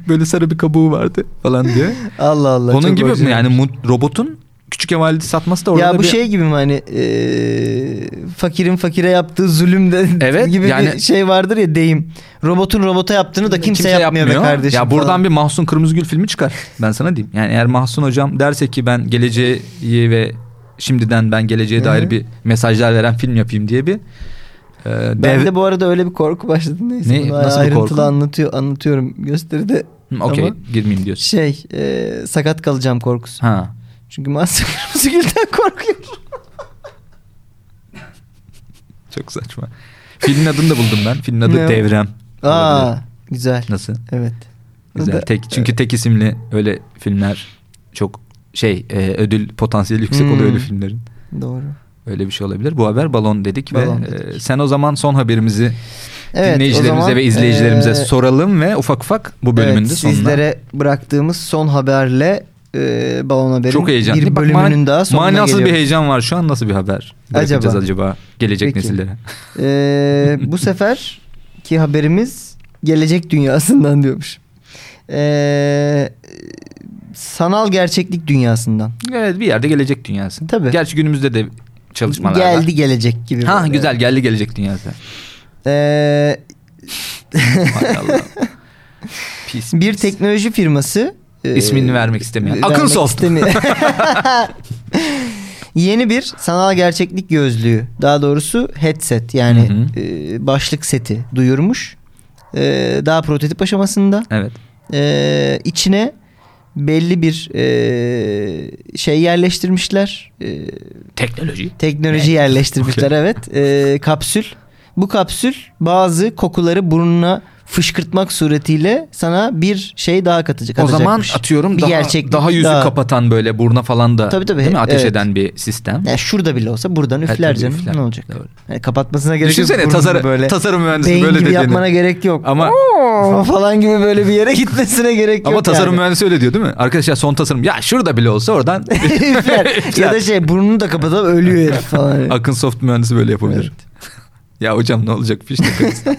B: Böyle sarı bir kabuğu vardı falan diye.
A: Allah Allah.
B: Onun
A: çok
B: gibi mi
A: orijinal.
B: yani mu- robotun küçük ev aleti satması da orada
A: ya bu
B: bir...
A: şey gibi mi hani e, fakirin fakire yaptığı zulüm de
B: Evet,
A: gibi bir
B: yani-
A: şey vardır ya deyim. Robotun robota yaptığını da kimse, yapmıyor, be kardeşim.
B: Ya buradan
A: falan.
B: bir Mahsun Kırmızıgül filmi çıkar. Ben sana diyeyim. Yani eğer Mahsun hocam derse ki ben geleceği ve şimdiden ben geleceğe
A: Hı hı.
B: dair bir mesajlar veren film yapayım diye bir e,
A: ben
B: dev-
A: de bu arada öyle bir korku başladı neyse.
B: Ne?
A: bunu
B: Nasıl bir
A: ayrıntılı
B: korku?
A: anlatıyor anlatıyorum gösteride.
B: Hı, okey
A: Ama
B: girmeyeyim diyorsun.
A: şey e, sakat kalacağım korkusu.
B: Ha.
A: Çünkü Mahsun Kırmızıgül'den korkuyorum.
B: Çok saçma. Filmin adını da buldum ben. Filmin adı
A: Ne?
B: Devrem.
A: Aa
B: Olabilir.
A: güzel.
B: Nasıl?
A: Evet.
B: Güzel.
A: Da- e,
B: Tek, çünkü tek isimli öyle filmler çok şey e, ödül potansiyeli yüksek
A: Hmm.
B: oluyor öyle filmlerin.
A: Doğru.
B: Öyle bir şey olabilir. Bu haber balon dedik
A: Balon
B: ve e,
A: dedik.
B: sen o zaman son haberimizi
A: Evet, o
B: dinleyicilerimize
A: zaman,
B: ve izleyicilerimize
A: e,
B: soralım ve ufak ufak bu bölümün
A: evet,
B: de sonuna.
A: Sizlere bıraktığımız son haberle e, balon haberin
B: çok heyecanlı.
A: bir
B: Bak,
A: bölümünün
B: man-
A: daha sonuna
B: Manasız
A: geliyoruz.
B: bir heyecan var. Şu an nasıl bir haber? Acaba.
A: Acaba.
B: acaba gelecek
A: Peki.
B: nesillere.
A: E, bu sefer ki haberimiz gelecek dünyasından diyormuş. E, sanal gerçeklik dünyasından.
B: Evet bir yerde gelecek dünyası.
A: Tabii.
B: Gerçi günümüzde de çalışmalar var.
A: Geldi gelecek gibi.
B: Ha
A: böyle.
B: güzel geldi gelecek dünyası.
A: E,
B: Hay Allah. Pis.
A: bir
B: pis.
A: teknoloji firması e,
B: İsmini vermek istemeyen.
A: vermek
B: Akınsoft.
A: istemiyor. Yeni bir sanal gerçeklik gözlüğü. Daha doğrusu headset yani
B: Hı hı.
A: e, başlık seti duyurmuş. E, daha prototip aşamasında.
B: Evet.
A: E, içine belli bir e, şey yerleştirmişler. E,
B: Teknoloji.
A: teknoloji yerleştirmişler evet. E, kapsül. Bu kapsül bazı kokuları burnuna fışkırtmak suretiyle sana bir şey daha katacak.
B: O zaman
A: katacakmış.
B: atıyorum
A: Bir
B: daha
A: gerçeklik
B: daha yüzü
A: daha.
B: kapatan böyle burna falan da
A: Tabii, tabii.
B: değil mi ateş
A: Evet.
B: eden bir sistem.
A: Ya şurada bile olsa buradan
B: Evet,
A: üfler
B: tabii,
A: canım.
B: üfler.
A: Ne olacak?
B: Doğru.
A: Yani kapatmasına gerek yok.
B: Düşünsene
A: Burnunu
B: tasarım, tasarım mühendisi
A: beyin
B: böyle
A: gibi
B: dediğini.
A: yapmana gerek yok.
B: Ama-
A: "Oo!" falan gibi böyle bir yere gitmesine gerek yok.
B: Ama tasarım
A: yani.
B: mühendisi öyle diyor değil mi? Arkadaşlar son tasarım ya şurada bile olsa oradan
A: Üfler. ya da şey burnunu da kapatıp ölüyor herif falan.
B: Akın Soft mühendisi böyle yapabilir. ya hocam ne olacak fiş takıyoruz. Ee,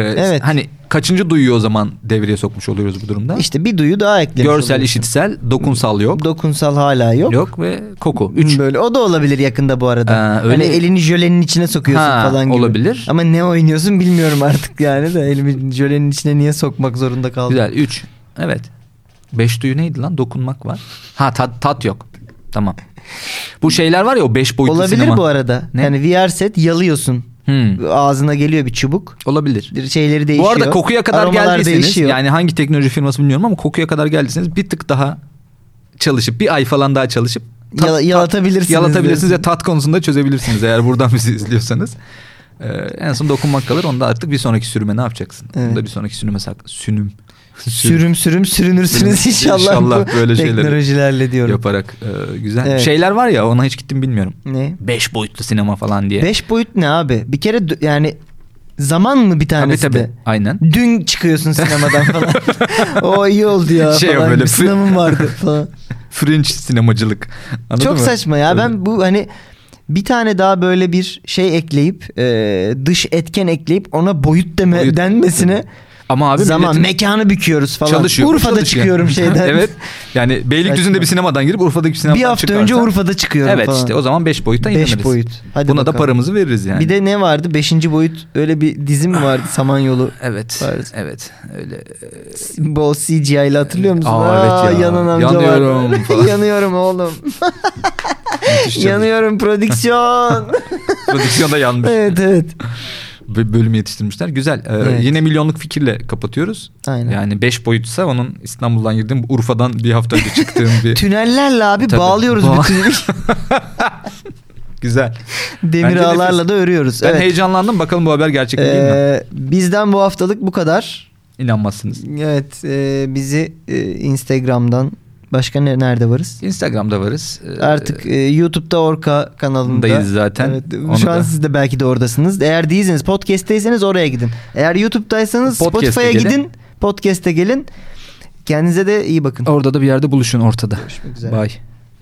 A: Evet.
B: Hani kaçıncı duyuyu o zaman devreye sokmuş oluyoruz bu durumda?
A: İşte bir duyu daha eklemiş.
B: Görsel,
A: oluyorsun.
B: işitsel, dokunsal yok.
A: Dokunsal hala yok.
B: Yok ve koku. Üç.
A: Böyle o da olabilir yakında bu arada.
B: Aa, öyle
A: hani
B: mi?
A: elini jölenin içine sokuyorsun
B: Ha,
A: falan gibi.
B: olabilir.
A: Ama ne oynuyorsun bilmiyorum artık yani de elimi jölenin içine niye sokmak zorunda kaldım.
B: Güzel. Üç. Evet. Beş duyu neydi lan? Dokunmak var. Ha tat, tat yok. Tamam. Bu şeyler var ya o beş boyutlu
A: Olabilir
B: sinema.
A: bu arada.
B: Ne?
A: Yani VR set yalıyorsun.
B: Hmm.
A: Ağzına geliyor bir çubuk.
B: Olabilir.
A: Şeyleri değişiyor.
B: Bu arada kokuya kadar
A: Aromalar
B: geldiyseniz
A: değişiyor.
B: yani hangi teknoloji firması bilmiyorum ama kokuya kadar geldiyseniz bir tık daha çalışıp bir ay falan daha çalışıp
A: Yala- yalatabilirsiniz
B: yalatabilirsiniz
A: diyorsun.
B: ya tat konusunda çözebilirsiniz eğer buradan bizi izliyorsanız. Ee, en son dokunmak kalır. Onda artık bir sonraki sürüme ne yapacaksın?
A: Evet.
B: Onda bir sonraki sürüme sak sünüm.
A: Sürüm sürüm sürünürsünüz
B: Sürün-
A: inşallah.
B: İnşallah
A: bu
B: böyle şeyleri
A: Teknolojilerle diyorum.
B: yaparak e, güzel.
A: Evet.
B: Şeyler var ya ona hiç gittim bilmiyorum.
A: Ne?
B: Beş boyutlu sinema falan diye.
A: Beş boyut ne abi? Bir kere dö- yani zaman mı
B: tabii
A: bir tanesi
B: tabii.
A: de?
B: Aynen.
A: Dün çıkıyorsun sinemadan falan. o iyi oldu ya
B: Şey
A: falan.
B: böyle-
A: Bir sınavım vardı falan.
B: Fringe sinemacılık. Anladın
A: Çok
B: mı?
A: saçma ya.
B: Öyle.
A: Ben bu hani bir tane daha böyle bir şey ekleyip e, dış etken ekleyip ona boyut deme
B: Boyut-
A: denmesine
B: ama abi
A: zaman
B: milletin-
A: mekanı büküyoruz falan.
B: Çalışıyor.
A: Urfa'da
B: çalışıyor.
A: çıkıyorum şeyden.
B: evet. Yani Beylikdüzü'nde
A: Saçma.
B: bir sinemadan girip Urfa'daki sinemadan
A: Bir hafta
B: çıkarsan-
A: önce Urfa'da çıkıyorum
B: Evet
A: falan.
B: işte o zaman 5 boyuta
A: Beş
B: indiririz.
A: boyut. Hadi
B: Buna da
A: bakalım.
B: paramızı veririz yani.
A: Bir de ne vardı? Beşinci boyut öyle bir dizim vardı Samanyolu.
B: Evet.
A: Varız.
B: Evet. Öyle.
A: Bol CGI'li hatırlıyor musun?
B: Aa, evet ya.
A: Yanan amca
B: Yanıyorum
A: vardı.
B: falan.
A: Yanıyorum oğlum.
B: Müthiş
A: Yanıyorum prodüksiyon.
B: çalış- Prodüksiyonda yanmış.
A: evet evet.
B: Bir bölüm yetiştirmişler. Güzel. Ee,
A: Evet.
B: Yine milyonluk fikirle kapatıyoruz.
A: Aynen.
B: Yani 5 boyutsa onun İstanbul'dan girdiğim Urfa'dan bir hafta önce çıktığım bir
A: Tünellerle abi
B: Tabii.
A: bağlıyoruz
B: Bağ-
A: bütün
B: güzel.
A: demir
B: Bence
A: ağlarla
B: nefis.
A: da örüyoruz.
B: Ben
A: evet.
B: heyecanlandım. Bakalım bu haber gerçek mi değil mi?
A: Ee, bizden bu haftalık bu kadar.
B: İnanmazsınız.
A: Evet e, bizi e, Instagram'dan başka ne, nerede varız?
B: Instagram'da varız. Ee,
A: Artık e, YouTube'da Orka kanalındayız
B: Dayız zaten. Onu
A: şu an
B: da-
A: siz de belki de oradasınız. Eğer değilseniz podcast'teyseniz oraya gidin. Eğer YouTube'daysanız
B: Podcast'e
A: Spotify'a
B: gelin.
A: gidin. Podcast'e gelin. Kendinize de iyi bakın.
B: orada da bir yerde buluşun ortada.
A: Görüşmek üzere.
B: Bye.